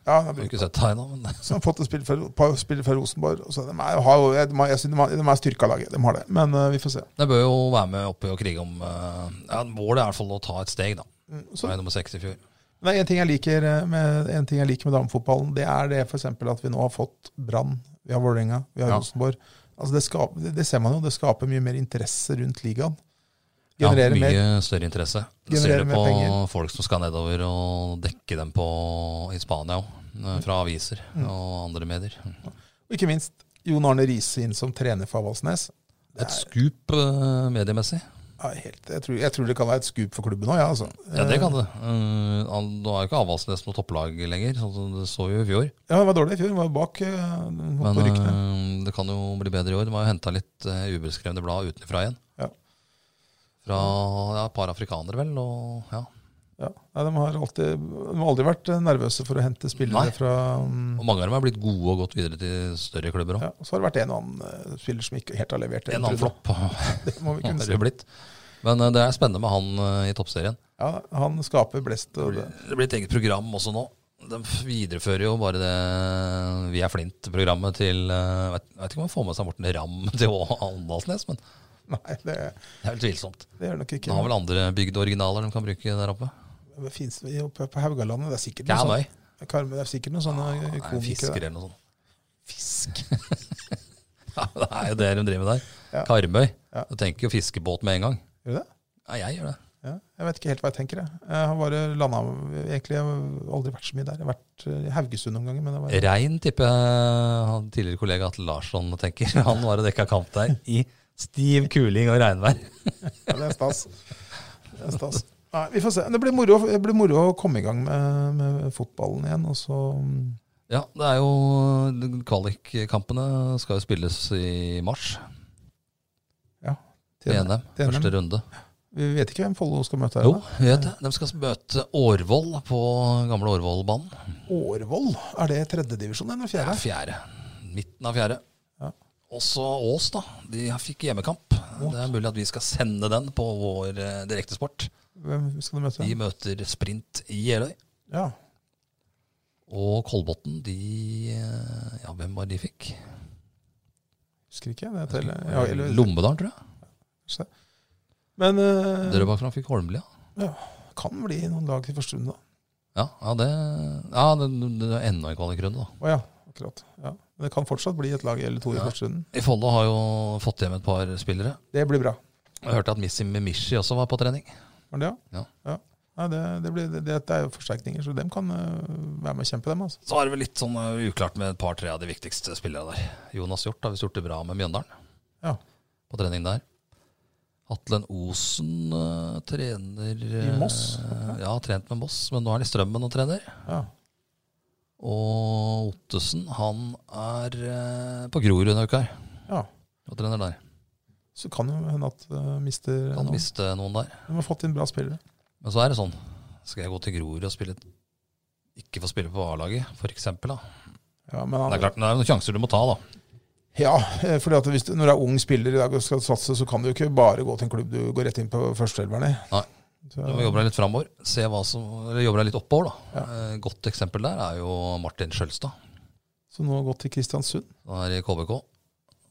Ja, hun er
Har
bra.
ikke sett henne ennå, men
Så har de fått et spill fra, par spillere fra Rosenborg. og Så de er, har, jo- de har, jeg synes de har, de er styrka laget. De har det. Men eh, vi får se.
De bør jo være med oppe og krige om eh, ja, Målet er i hvert fall å ta et steg, da.
Mm,
Det
Så,
er nummer seks i fjor.
det er en ting jeg liker eh, med, en ting jeg liker med damefotballen. Det er det for eksempel at vi nå har fått Brann, vi har Vålerenga, vi har
Ja.
Rosenborg. Altså det, skaper, det, det ser man jo. Det skaper mye mer interesse rundt ligaen.
Ja, mye
Genererer mer.
større interesse. Du
Genererer
ser det
mer
på
penger.
folk som skal nedover og dekke dem på i Spania òg. Fra aviser
Mm.
og andre medier.
Og ikke minst Jon Arne Riise inn som trener for Avaldsnes. Det
Et
er,
skup eh, mediemessig.
ja, helt, jeg, tror, jeg tror det kan være et skup for klubben òg, ja, altså.
Ja, det kan det. Eh, han- Nå er jo ikke Avaldsnes noe topplag lenger, sånn som det så jo i fjor.
Eh, Ja, det var dårlig i fjor. det Var bak eh,
Men
på rykkene.
eh, det kan jo bli bedre i år. De har jo henta litt eh, ubeskrevne blad utenfra igjen.
Ja.
Fra ja, et par afrikanere, vel. Og ja,
Ja, nei, de, har alltid, de har aldri vært eh, nervøse for å hente spillere
Nei.
fra mm,
Og mange av dem er blitt gode og gått videre til større klubber òg.
ja, Så har det vært en og annen eh, spiller som ikke helt har levert. det.
en annen flopp
Det må vi
har
kunne
det
si.
jo blitt. Men eh, det er spennende med han eh, i toppserien.
Ja, han skaper blest. Og det.
Det blir et eget program også nå. De viderefører jo bare det Vi er flint-programmet til eh, Vet vet ikke om han får med seg Morten Ramm til Å- Åndalsnes, men
Nei, det,
Det er vel tvilsomt.
det gjør det nok
De
ikke.
har vel andre bygde originaler de kan bruke der oppe?
Det finnes det jo på, på Haugalandet. Det er sikkert noe
Karmøy.
sånt. Karmøy, Det er sikkert noen sånne
Det er Fisker
komikere.
eller noe sånt.
Fisk.
Ja, det er jo det de driver med der.
Ja.
Karmøy.
Ja.
Du tenker jo fiskebåt med en gang.
Gjør du det?
Ja, jeg gjør det.
Ja, jeg vet ikke helt hva jeg tenker. Jeg, jeg har bare landa Egentlig har jeg aldri vært så mye der. Jeg har vært eh, i Haugesund noen ganger. Men det var,
Rein tipper jeg han tidligere kollega Atle Larsson tenker. Han var og dekka kamp der i stiv kuling og regnvær.
ja, det er stas. Det er stas. Nei, vi får se. Det blir moro, det blir moro å komme i gang med, med fotballen igjen. Og så mm,
Ja, det er jo Kvalikkampene skal jo spilles i mars.
ja.
Til NM.
til NM.
Første runde.
Vi vet ikke hvem Follo skal møte her.
Jo,
da.
vi vet det. De skal møte Årvoll på gamle Årvollbanen.
Årvoll? Er det tredjedivisjon eller
Det er
fjerde?
fjerde. Midten av fjerde.
Ja.
Også Ås, da. De fikk hjemmekamp. Det er mulig at vi skal sende den på vår eh, direktesport.
Hvem skal du møte?
De møter Sprint Jeløy.
Ja.
Og Kolbotn, de eh, Ja, hvem var de fikk? Eh,
Husker ikke. Det er til, ja, eller,
Lommedalen, tror jeg.
se. Men eh,
Dere bakfra fikk Holmlia.
kan bli noen lag til første runde, da.
Ja, ja, det, ja det, det er enda en kvalikrunde, da.
Å ja, akkurat. Ja. Men det kan fortsatt bli et lag eller to i
Ja.
første runden.
I Follo har jo fått hjem et par spillere.
Det blir bra.
Jeg hørte at Missy Memishi også var på trening.
Var det det?
Ja.
Nei, det, det, blir, det, det er jo forsterkninger, så dem kan øh, være med å kjempe, dem. altså.
Så er det vel litt sånn eh, uklart med et par-tre av de viktigste spillerne der. Jonas Hjort har visst gjort det bra med Mjøndalen
Ja.
på trening der. Atlen Osen eh, trener eh,
I Moss?
Ja, har trent med Moss, men nå er han i Strømmen og trener.
Ja.
Og Ottesen, han er eh, på Grorud en uke her
ja.
og trener der.
Så kan jo hende at øh, mister
Kan
noen.
miste noen der.
De har fått inn bra spillere.
Men så er det sånn, skal jeg gå til Grorud og spille ikke få spille på A-laget, f.eks. da.
Ja, men
Det er
han,
klart, det er jo noen sjanser du må ta, da.
ja, eh, fordi at hvis du, når du er ung spiller i dag og skal satse, så kan du jo ikke bare gå til en klubb du går rett inn på førsteelveren i.
Nei.
Så,
Du må jobbe deg litt framover. Se hva som, eller jobbe deg litt oppover, da.
Ja.
Eh, Godt eksempel der er jo Martin Skjølstad.
så nå har jeg gått til Kristiansund
Han er i KBK.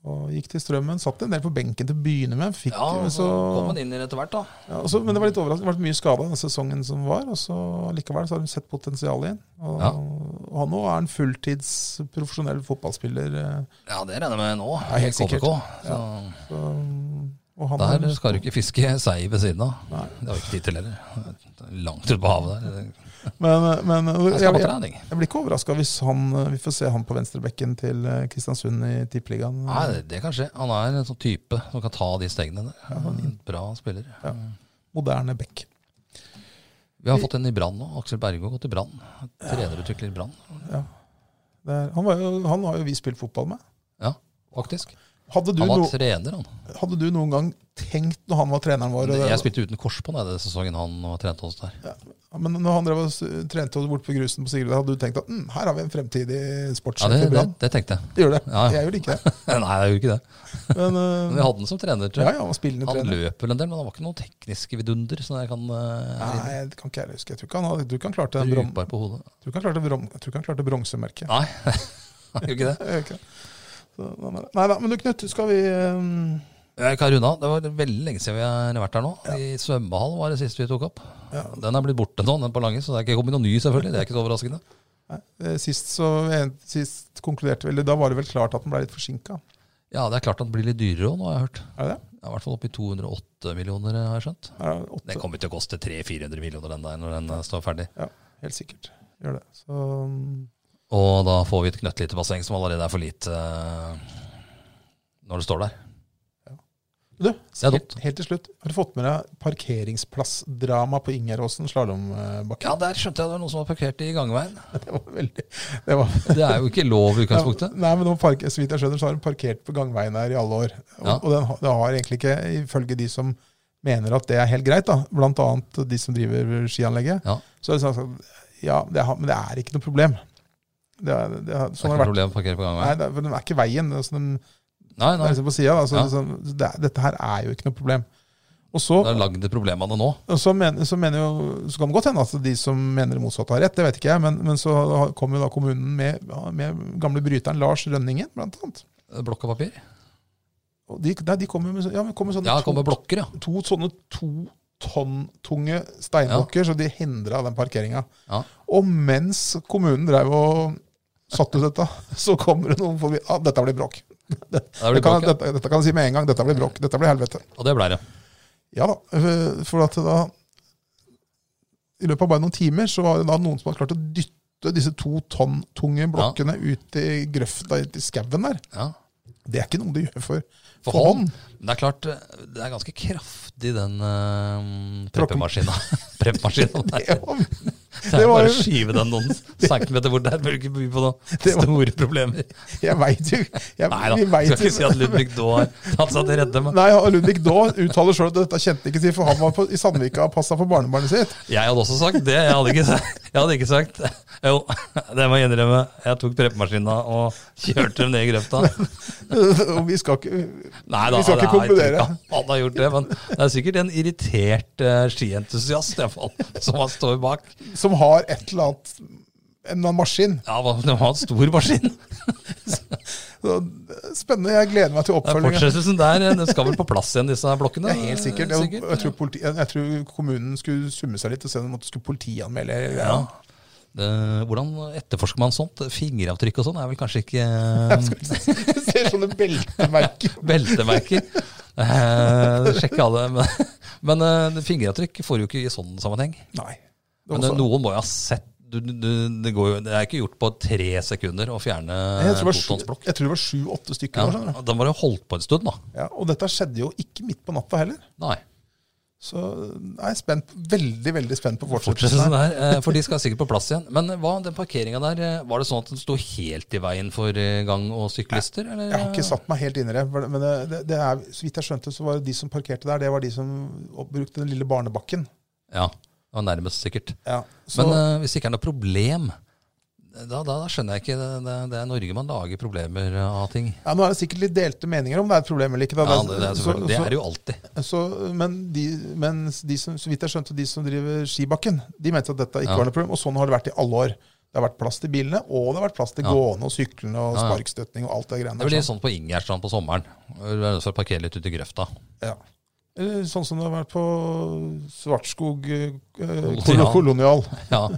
og gikk til Strømmen. Satt en del på benken til å begynne med. Fikk,
Ja,
jo
så
så,
kom han inn i det etter hvert, da.
ja, og så, men det var litt overraskende. Det har vært mye skada den sesongen som var, og så likevel så har de sett potensialet igjen. Og,
Ja.
og han nå er en fulltids profesjonell fotballspiller. eh,
Ja, det regner jeg med nå.
Ja, helt
i KBK. Så
Så, og han
der
er-
skal du ikke fiske sei ved siden av.
Nei.
Det har vi ikke tid til heller. Det er Langt ute på havet der.
Men, men
Jeg
jeg, jeg,
skal på trening.
jeg blir ikke overraska hvis han, vi får se han på venstrebekken til eh, Kristiansund i Tippeligaen.
Nei, det, det kan skje. Han er en sånn type som kan ta de stegene der. En Bra spiller.
Moderne bekk.
Vi har fått en i Brann nå. Aksel Berge har gått i Brann. Trenerutvikler i Brann,
Det er- Han, var jo- han har jo vi spilt fotball med.
faktisk.
Hadde du,
Han
no,
var trener, han.
hadde du noen gang tenkt, når han var treneren vår eh, og-
Jeg spilte uten kors på den denne sesongen han trente oss der.
Men når han drev og s- trente oss bort på grusen på Sigrid, hadde du tenkt at mm, her har vi en fremtidig
Ja,
sportssjef
det,
i
det,
Brann?
det tenkte jeg.
Det gjør det.
Ja, ja.
Jeg gjorde ikke det.
Nei, jeg gjorde ikke det.
Men,
Men
eh,
jeg hadde den som trener, tror
ja,
jeg.
ja, han var spillende
Han
trener.
løp vel en del, men han var ikke noen tekniske vidunder. Så jeg kan eh,
Nei, det kan ikke jeg huske. Jeg tror ikke han, hadde- jeg tror ikke han klarte den brom-
Brukbar på hodet.
jeg tror ikke han klarte brom- jeg tror ikke han klarte bronsemerket.
Nei, jeg gjorde ikke det.
Jeg gjør ikke det. Så, nei, nei, nei da, men du Knut, skal vi ehm,
Jeg kan runde av. Eh, Det var veldig lenge siden vi har vært her nå. I svømmehall var det siste vi tok opp. Den er blitt borte nå, den på Lange, så det er ikke kommet noen ny, selvfølgelig. Det er ikke så overraskende.
nei, eh, Sist så en- sist konkluderte vi eller Da var det vel klart at den ble litt forsinka?
Ja, det er klart at den blir litt dyrere òg, nå har jeg hørt.
Er det det?
Det er I hvert fall oppi 208 millioner, eh, har jeg skjønt.
Er det åtte?
Den kommer til å koste 300-400 millioner, den der, når den eh, står ferdig.
Helt sikkert. Gjør det. Så mm,
Og da får vi et knøttlite basseng som allerede er for lite eh, når det står der.
du,
er dumt.
helt, helt til slutt, har du fått med deg parkeringsplassdrama på Ingeråsen slalåmbakke?
Ja, der skjønte jeg det var noen som var parkert i gangveien.
Det var veldig det var,
Det er jo ikke lov
ja,
i utgangspunktet.
Nei, men nå parker, Så vidt jeg skjønner, så har de parkert på gangveien her i alle år. Og,
Ja.
og den, har- det har egentlig ikke, ifølge de som mener at det er helt greit, da, blant annet de som driver skianlegget,
Ja, det
Så er det sånn at, ja, det er, men det er ikke noe problem. Det er, det er,
er
sånn har det
ikke noe
vært.
problem å parkere på
Nei,
gangveien.
det er, for den er ikke veien. det er sånn, den
Nei,
den
nei.
er liksom på siden, da, så,
Ja.
så det, er- dette her er jo ikke noe problem. Og så,
Det er lagd et problem av det nå.
og så, men, så mener jo, så kan det godt hende at de som mener det motsatte har rett, det vet ikke jeg, men, men så har- kom jo da kommunen med, med gamle bryteren Lars Rønningen, blant annet.
Blokkapapir.
Og de, nei, de kommer med, så- ja, men kommer sånne
Ja, det
to-
kommer blokker, ja.
to sånne to tonn tunge steinblokker, så de hindra den parkeringa.
Ja.
Og mens kommunen drev og satte ut dette, så kommer det noen forbi. Ah, dette blir bråk.
Det blir
Det kan,
bråk, ja.
dette, dette kan jeg si med en gang. Dette blir bråk. Dette blir helvete.
Og det blei det.
Ja da. øh, For at da I løpet av bare noen timer så var det da noen som hadde klart å dytte disse to tonn tunge blokkene ut i grøfta i skauen der.
Ja.
Det er ikke noe du gjør for,
For
for hånd.
hånd. Men det er klart, det er ganske kraftig, den uh,
Tråkken.
preppemaskina. preppemaskina der.
Det var,
Det er
var
bare å
jo-
skyve den noen centimeter bort der. Bør du ikke by på noen
Det var-
store problemer.
jeg veit jo jeg,
Nei da,
vi vet
skal
jo-
ikke si at Ludvig Daae har tatt seg til redde. Men
Nei, og Ludvig Daa uttaler sjøl at dette kjente han ikke til, for han var på, i Sandvika og passa for barnebarnet sitt.
jeg hadde også sagt det. Jeg hadde ikke sagt, jeg hadde ikke sagt. Jo, det må jeg innrømme. Jeg tok preppemaskina og kjørte dem ned i grøfta.
Og vi skal ikke
Nei da,
Vi skal ikke
det er- jeg tror
konkludere.
ikke Han har gjort det, men det er sikkert en irritert eh, skientusiast i hvert fall, som han står bak.
Som har et eller annet en eller annen maskin.
Ja, hva- Det var en stor maskin.
Så, eh, Spennende. Jeg gleder meg til
Det er
oppfølgingen.
Fortsettelsen der den skal vel på plass igjen, disse her blokkene?
Det er helt sikkert. Jeg, jeg, tror politi, jeg, jeg tror kommunen skulle summe seg litt og se om de skulle politianmelde. eller-
Ja. Det, Eh, hvordan etterforsker man sånt? Fingeravtrykk og sånn er vel kanskje ikke eh,
Jeg ser sånne beltemerker.
beltemerker. Eh, sjekke alle. Men, men eh, fingeravtrykk får du jo ikke i sånn sammenheng.
Nei. Det var
Men eh,
så-
noen må jo ha sett du, du, du, det, går jo, det er ikke gjort på tre sekunder å fjerne
jeg tror det var sju-
totonsblokk.
jeg tror det var sånn, sju-åtte stykker.
Ja,
nå, skjønner du.
da var det holdt på en stund, da.
Ja, og dette skjedde jo ikke midt på natta heller.
Nei.
Så jeg er spent, veldig veldig spent på
Fortsettelsen
fortsettelsen. her.
der, eh, for de skal sikkert på plass igjen. Men eh, hva, den parkeringa der, eh, var det sånn at den sto helt i veien for eh, gang- og syklister? Eller? eh?
Jeg har ikke satt meg helt inn i det. Men det, det, det er, så vidt jeg skjønte, så var det de som parkerte der, det var de som opp- brukte den lille barnebakken.
Ja, det var nærmest sikkert.
Ja, så,
Men eh, hvis det ikke er noe problem, eh, da, da, da skjønner jeg ikke. Det, det, det er Norge man lager problemer av ting.
ja, nå er det sikkert litt delte meninger om det er et problem eller ikke. Da.
Ja, det, det, er,
så,
selvfølgelig- det er det jo alltid.
så, så, men de, mens de som, så vidt jeg skjønte, de som driver skibakken, de mente at dette ikke
Ja.
var noe problem. Og sånn har det vært i alle år. Det har vært plass til bilene, og det har vært plass til
Ja.
gående og syklende og
Ja, ja.
sparkstøtning og alt det greiene
Det blir
der.
litt sånn på Ingjerdstrand på sommeren. Du er nødt til å parkere litt ute i grøfta.
Ja. Eh, Sånn som det har vært på Svartskog eh, kol-
Kolonial.
kolonial.
Ja.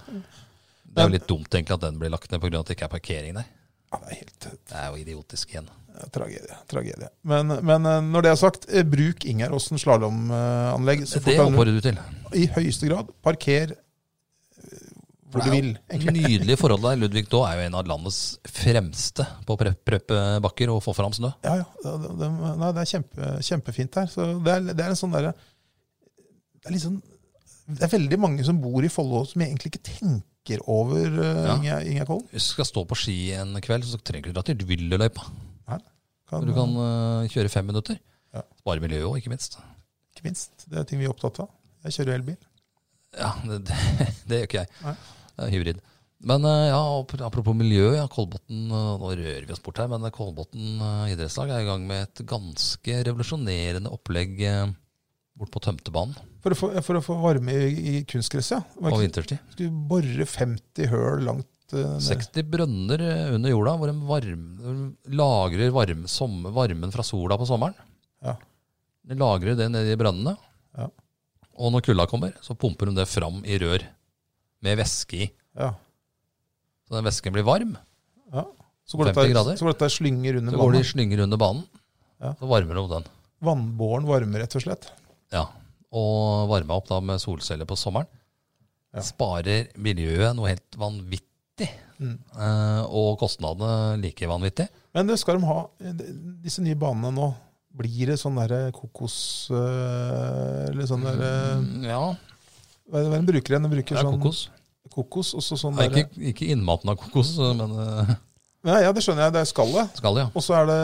Det er jo litt dumt egentlig at den blir lagt ned pga. at det ikke er parkering der.
Ja, det er helt eh,
Det er jo idiotisk igjen.
tragedie. tragedie. Men, men eh, når det er sagt, eh, bruk Ingeråsen slalåmanlegg så fort
Det
kan du-
oppfordrer du til.
i høyeste grad. Parker eh, hvor
Det
du
er jo
vil. egentlig.
Nydelige forhold der. Ludvig Daae er jo en av landets fremste på å prep- preppe bakker og få fram snø.
Ja, ja. Det, det- det, nei, det er kjempe, kjempefint her. Så det er, det er en sånn derre Det er litt sånn det er veldig mange som bor i Follo som egentlig ikke tenker over uh,
Ja.
Ingjerd Ingjerd Kollen.
Hvis du skal stå på ski en kveld, så trenger du ikke dra til Villeløypa.
Kan-
Du kan eh, kjøre fem minutter.
Ja.
Spare miljøet òg, ikke minst.
Ikke minst. Det er ting vi er opptatt av. Jeg kjører jo elbil.
Ja, det, det, det gjør ikke
Nei.
jeg. Det er hybrid. Men eh, ja, ap- apropos miljø, ja, Kolbotn eh, Nå rører vi oss bort her, men eh, Kolbotn eh, idrettslag er i gang med et ganske revolusjonerende opplegg eh, bort på tømtebanen
For å få, for å få varme i, i kunstgresset, ja.
på
Var ikke-
vinterstid.
Skulle bore 50 høl langt eh, ned.
60 brønner eh, under jorda hvor de varm, lagrer varm, som, varmen fra sola på sommeren.
Ja.
De lagrer det nede i brønnene.
Ja.
Og når kulda kommer, så pumper de det fram i rør med væske i.
Ja.
Så den væsken blir varm.
Ja. Så går
50
dette,
grader.
så går dette slynger
Så
under
går det i
vannet.
slynger under banen.
Ja.
Så varmer de opp den.
Vannbåren varme, rett og slett.
Ja. Og varmer opp da med solceller på sommeren.
Ja.
Sparer miljøet noe helt vanvittig.
Mm.
Eh, og kostnadene like vanvittig.
Men det skal de ha, eh, de- disse nye banene nå, blir det sånn derre kokos eh, Eller sånn derre
Mm, ja,
Hva er det hva er det de bruker igjen? De
det
bruker
er
sånn
kokos.
kokos, og så sånn
Nei,
derre
ikke, ikke innmaten av kokos, men eh,
Nei, Ja, det skjønner jeg. Det er skallet.
skallet, ja.
Og så er det,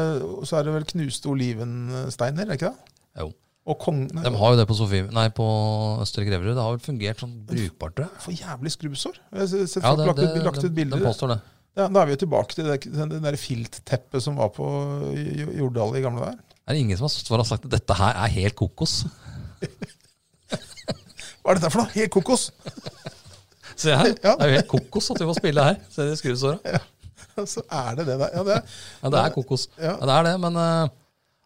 så er det vel knuste olivensteiner, er det ikke det?
Jo.
Og kong... nei,
De har jo det på, Sofie, nei, på Østre Greverud. Det har vel fungert sånn brukbart, tror jeg.
For jævlig skrubbsår. Jeg har sett
Ja,
folk
det-
lagt, ut,
det-
lagt
de-
ut bilder.
De påstår det.
Ja, da er vi jo tilbake til det, det der filtteppet som var på J- Jordal i gamle dager.
Er det ingen som har, som har sagt at dette her er helt kokos?
Hva er dette for noe? Helt kokos!
Se her,
Ja.
det er jo helt kokos at vi får spille her. Se de skrubbsåra.
Så er det det der. Ja, det er,
Ja, det er kokos.
Ja.
Ja, det er det, men eh,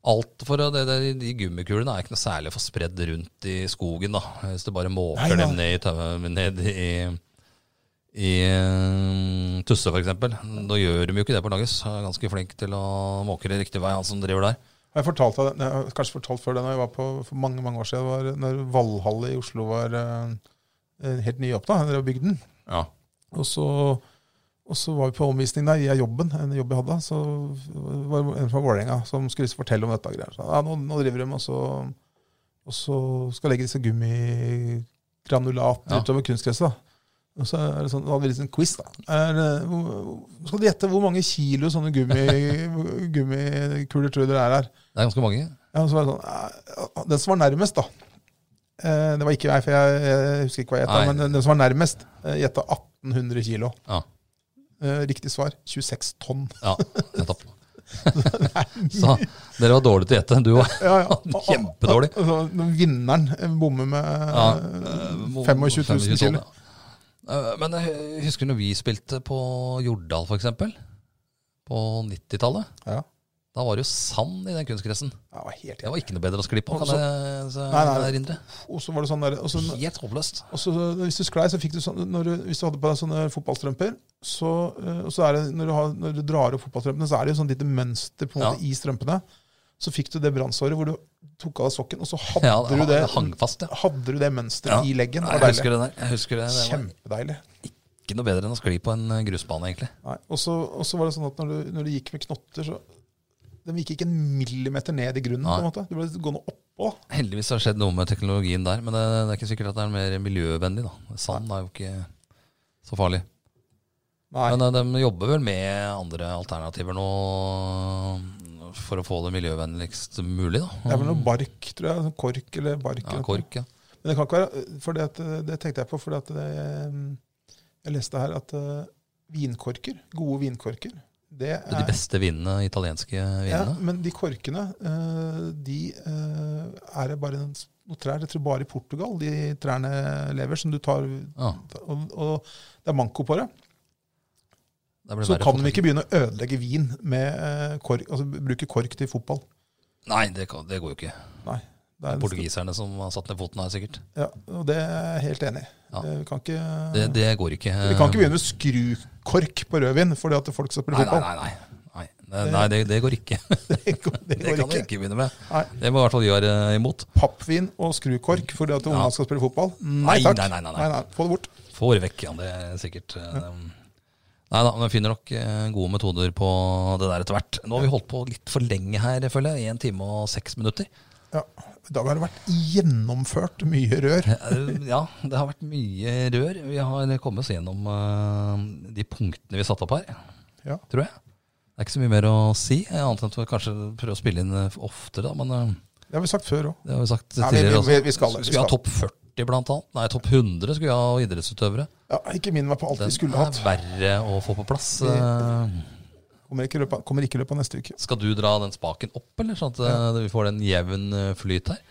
Alt for å- det, det, De gummikulene er ikke noe særlig for spredd rundt i skogen. da. Hvis du bare måker
Nei, nei.
dem ned i, tau- ned i, i eh, Tusse, f.eks. Da gjør de jo ikke det på Norges. Han er Ganske flink til å måke det riktig vei, han som driver der.
Har jeg fortalt deg, den- jeg har kanskje fortalt før det når jeg var på for mange mange år siden, det var når Valhall i Oslo var eh, eh, helt nyåpna. Dere har bygd den.
Ja.
Og så, og så var vi på omvisning der, i jobben, en jobb jeg hadde. Så var det en fra Vålerenga som skulle fortelle om dette. og greier. Så, ja, nå, nå driver de, og så, og så skal legge disse gummigranulatene
Ja.
utover kunstgresset. da. Og så er det sånn, da hadde vi liksom en quiz, da. Er, det- hvor- skal du gjette hvor mange kilo sånne gummi, gummikuler tror dere er her?
Det er ganske mange.
Ja, og så var det sånn, eh, Den som var nærmest, da. Eh, Det var ikke jeg, for jeg, jeg husker ikke hva jeg gjetta.
Nei.
Men den- den som var nærmest, eh, gjetta 1800 kilo.
Ja.
Eh, Riktig svar 26 tonn.
Ja, nettopp. Så dere var dårlige til å gjette. Du var
Ja, ja.
Kjempedårlig.
Altså, når Vinneren eh, bommer med
Ja,
eh, 25 000 kilo.
Ja. Eh, Men jeg husker når vi spilte på Jordal, for eksempel. På 90-tallet.
Ja.
Da var det jo sand i den kunstgressen.
Ja, det var helt
Det var ikke noe bedre å skli på, kan
Og så-
jeg så-
Nei, nei, nei.
erindre.
Og så var det sånn der, og så,
Helt håpløst.
og så Hvis du sklei, så fikk du sånn når du, Hvis du hadde på deg sånne fotballstrømper, så, eh, og så er det, når, du har, når du drar opp fotballstrømpene, så er det jo sånn lite mønster på en måte i strømpene. Så fikk du det brannsåret hvor du tok av deg sokken, og så hadde
Ja,
du
det,
det
det hang fast, ja.
hadde du det mønsteret
Ja.
i leggen. Det
Nei, jeg
var
husker
deilig.
det der. Jeg husker det. det var
Kjempedeilig.
ikke noe bedre enn å skli på en eh, grusbane, egentlig.
Nei, Og så og så var det sånn at når du, når du gikk med knotter, så De gikk ikke en millimeter ned i grunnen. på en
Nei.
måte. Du ble gående oppå.
Heldigvis har det skjedd noe med teknologien der, men det, det er ikke sikkert at det er mer miljøvennlig. da. Sand er jo ikke så farlig.
Nei,
Men eh, de jobber vel med andre alternativer nå eh, for å få det miljøvennligst mulig,
Det
da.
er vel noe bark, tror jeg. sånn Kork eller bark. eller
Ja,
noe.
kork, ja.
Men det kan ikke være, for det, at, eh, det tenkte jeg på, for det, eh, jeg leste her at eh, vinkorker, gode vinkorker det er,
De beste vinene, italienske
ja,
vinene.
Men de korkene, eh, de eh, er det bare en- noen trær Jeg tror bare i Portugal de trærne lever, som du tar
Ja,
og, og det er manko på det.
det blir
Så
verre
kan
for-
vi ikke begynne å ødelegge vin med eh, kork, altså bruke kork til fotball.
Nei, det, kan, det går jo ikke.
Det er en-
Portugiserne som har satt ned foten her, sikkert.
ja, og det er jeg helt enig i.
Ja.
Det- Vi kan ikke,
Det, det går ikke.
vi kan ikke begynne med skrukork på rødvin fordi at folk skal spille
Nei, nei,
fotball.
nei. nei. Nei, det, nei det, det går ikke.
Det går, det
Det
går
kan vi
ikke.
ikke begynne med.
Nei.
Det må i hvert fall vi være imot.
Pappvin og skrukork fordi at ungene skal spille fotball? Nei
Nei,
takk.
nei, nei, nei, nei.
Få det bort.
Får vekk, ja. Det er sikkert eh, Nei da, men vi finner nok eh, gode metoder på det der etter hvert. Nå har vi holdt på litt for lenge her, jeg føler jeg. Én time og seks minutter.
Ja. I dag har det vært gjennomført mye rør.
Eh, Ja, det har vært mye rør. Vi har kommet oss gjennom eh, de punktene vi satte opp her,
Ja.
tror jeg. Det er ikke så mye mer å si, eh, annet enn at vi kanskje prøver å spille inn eh, oftere, da. Men eh,
Det har vi sagt før òg.
det har vi sagt
Ja, vi-
tidligere
vi-
også.
vi- vi skal det, vi
Skulle vi ha
skal.
topp 40 blant annet? Nei, topp 100 skulle vi ha idrettsutøvere.
Ja, ikke minn meg på alt vi
Den
skulle
er
hatt.
verre å få på plass. eh.
Kommer ikke i løpet av- kommer ikke i løpet av neste uke.
Skal du dra den spaken opp, eller sånn at eh, vi får en jevn eh, flyt her?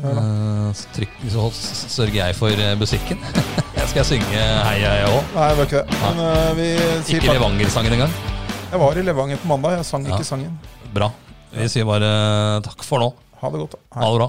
Ja da.
Eh, så, trykk, så s- sørger jeg for eh, musikken. jeg skal synge heia, jeg òg.
Nei, det var ikke det. Men eh, vi sier
Ikke
takk.
Levanger-sangen engang.
Jeg var i Levanger på mandag. Jeg sang
Ja.
ikke sangen.
Bra. Vi sier bare eh, takk for nå.
Ha det godt. da. Hei.
Ha det bra.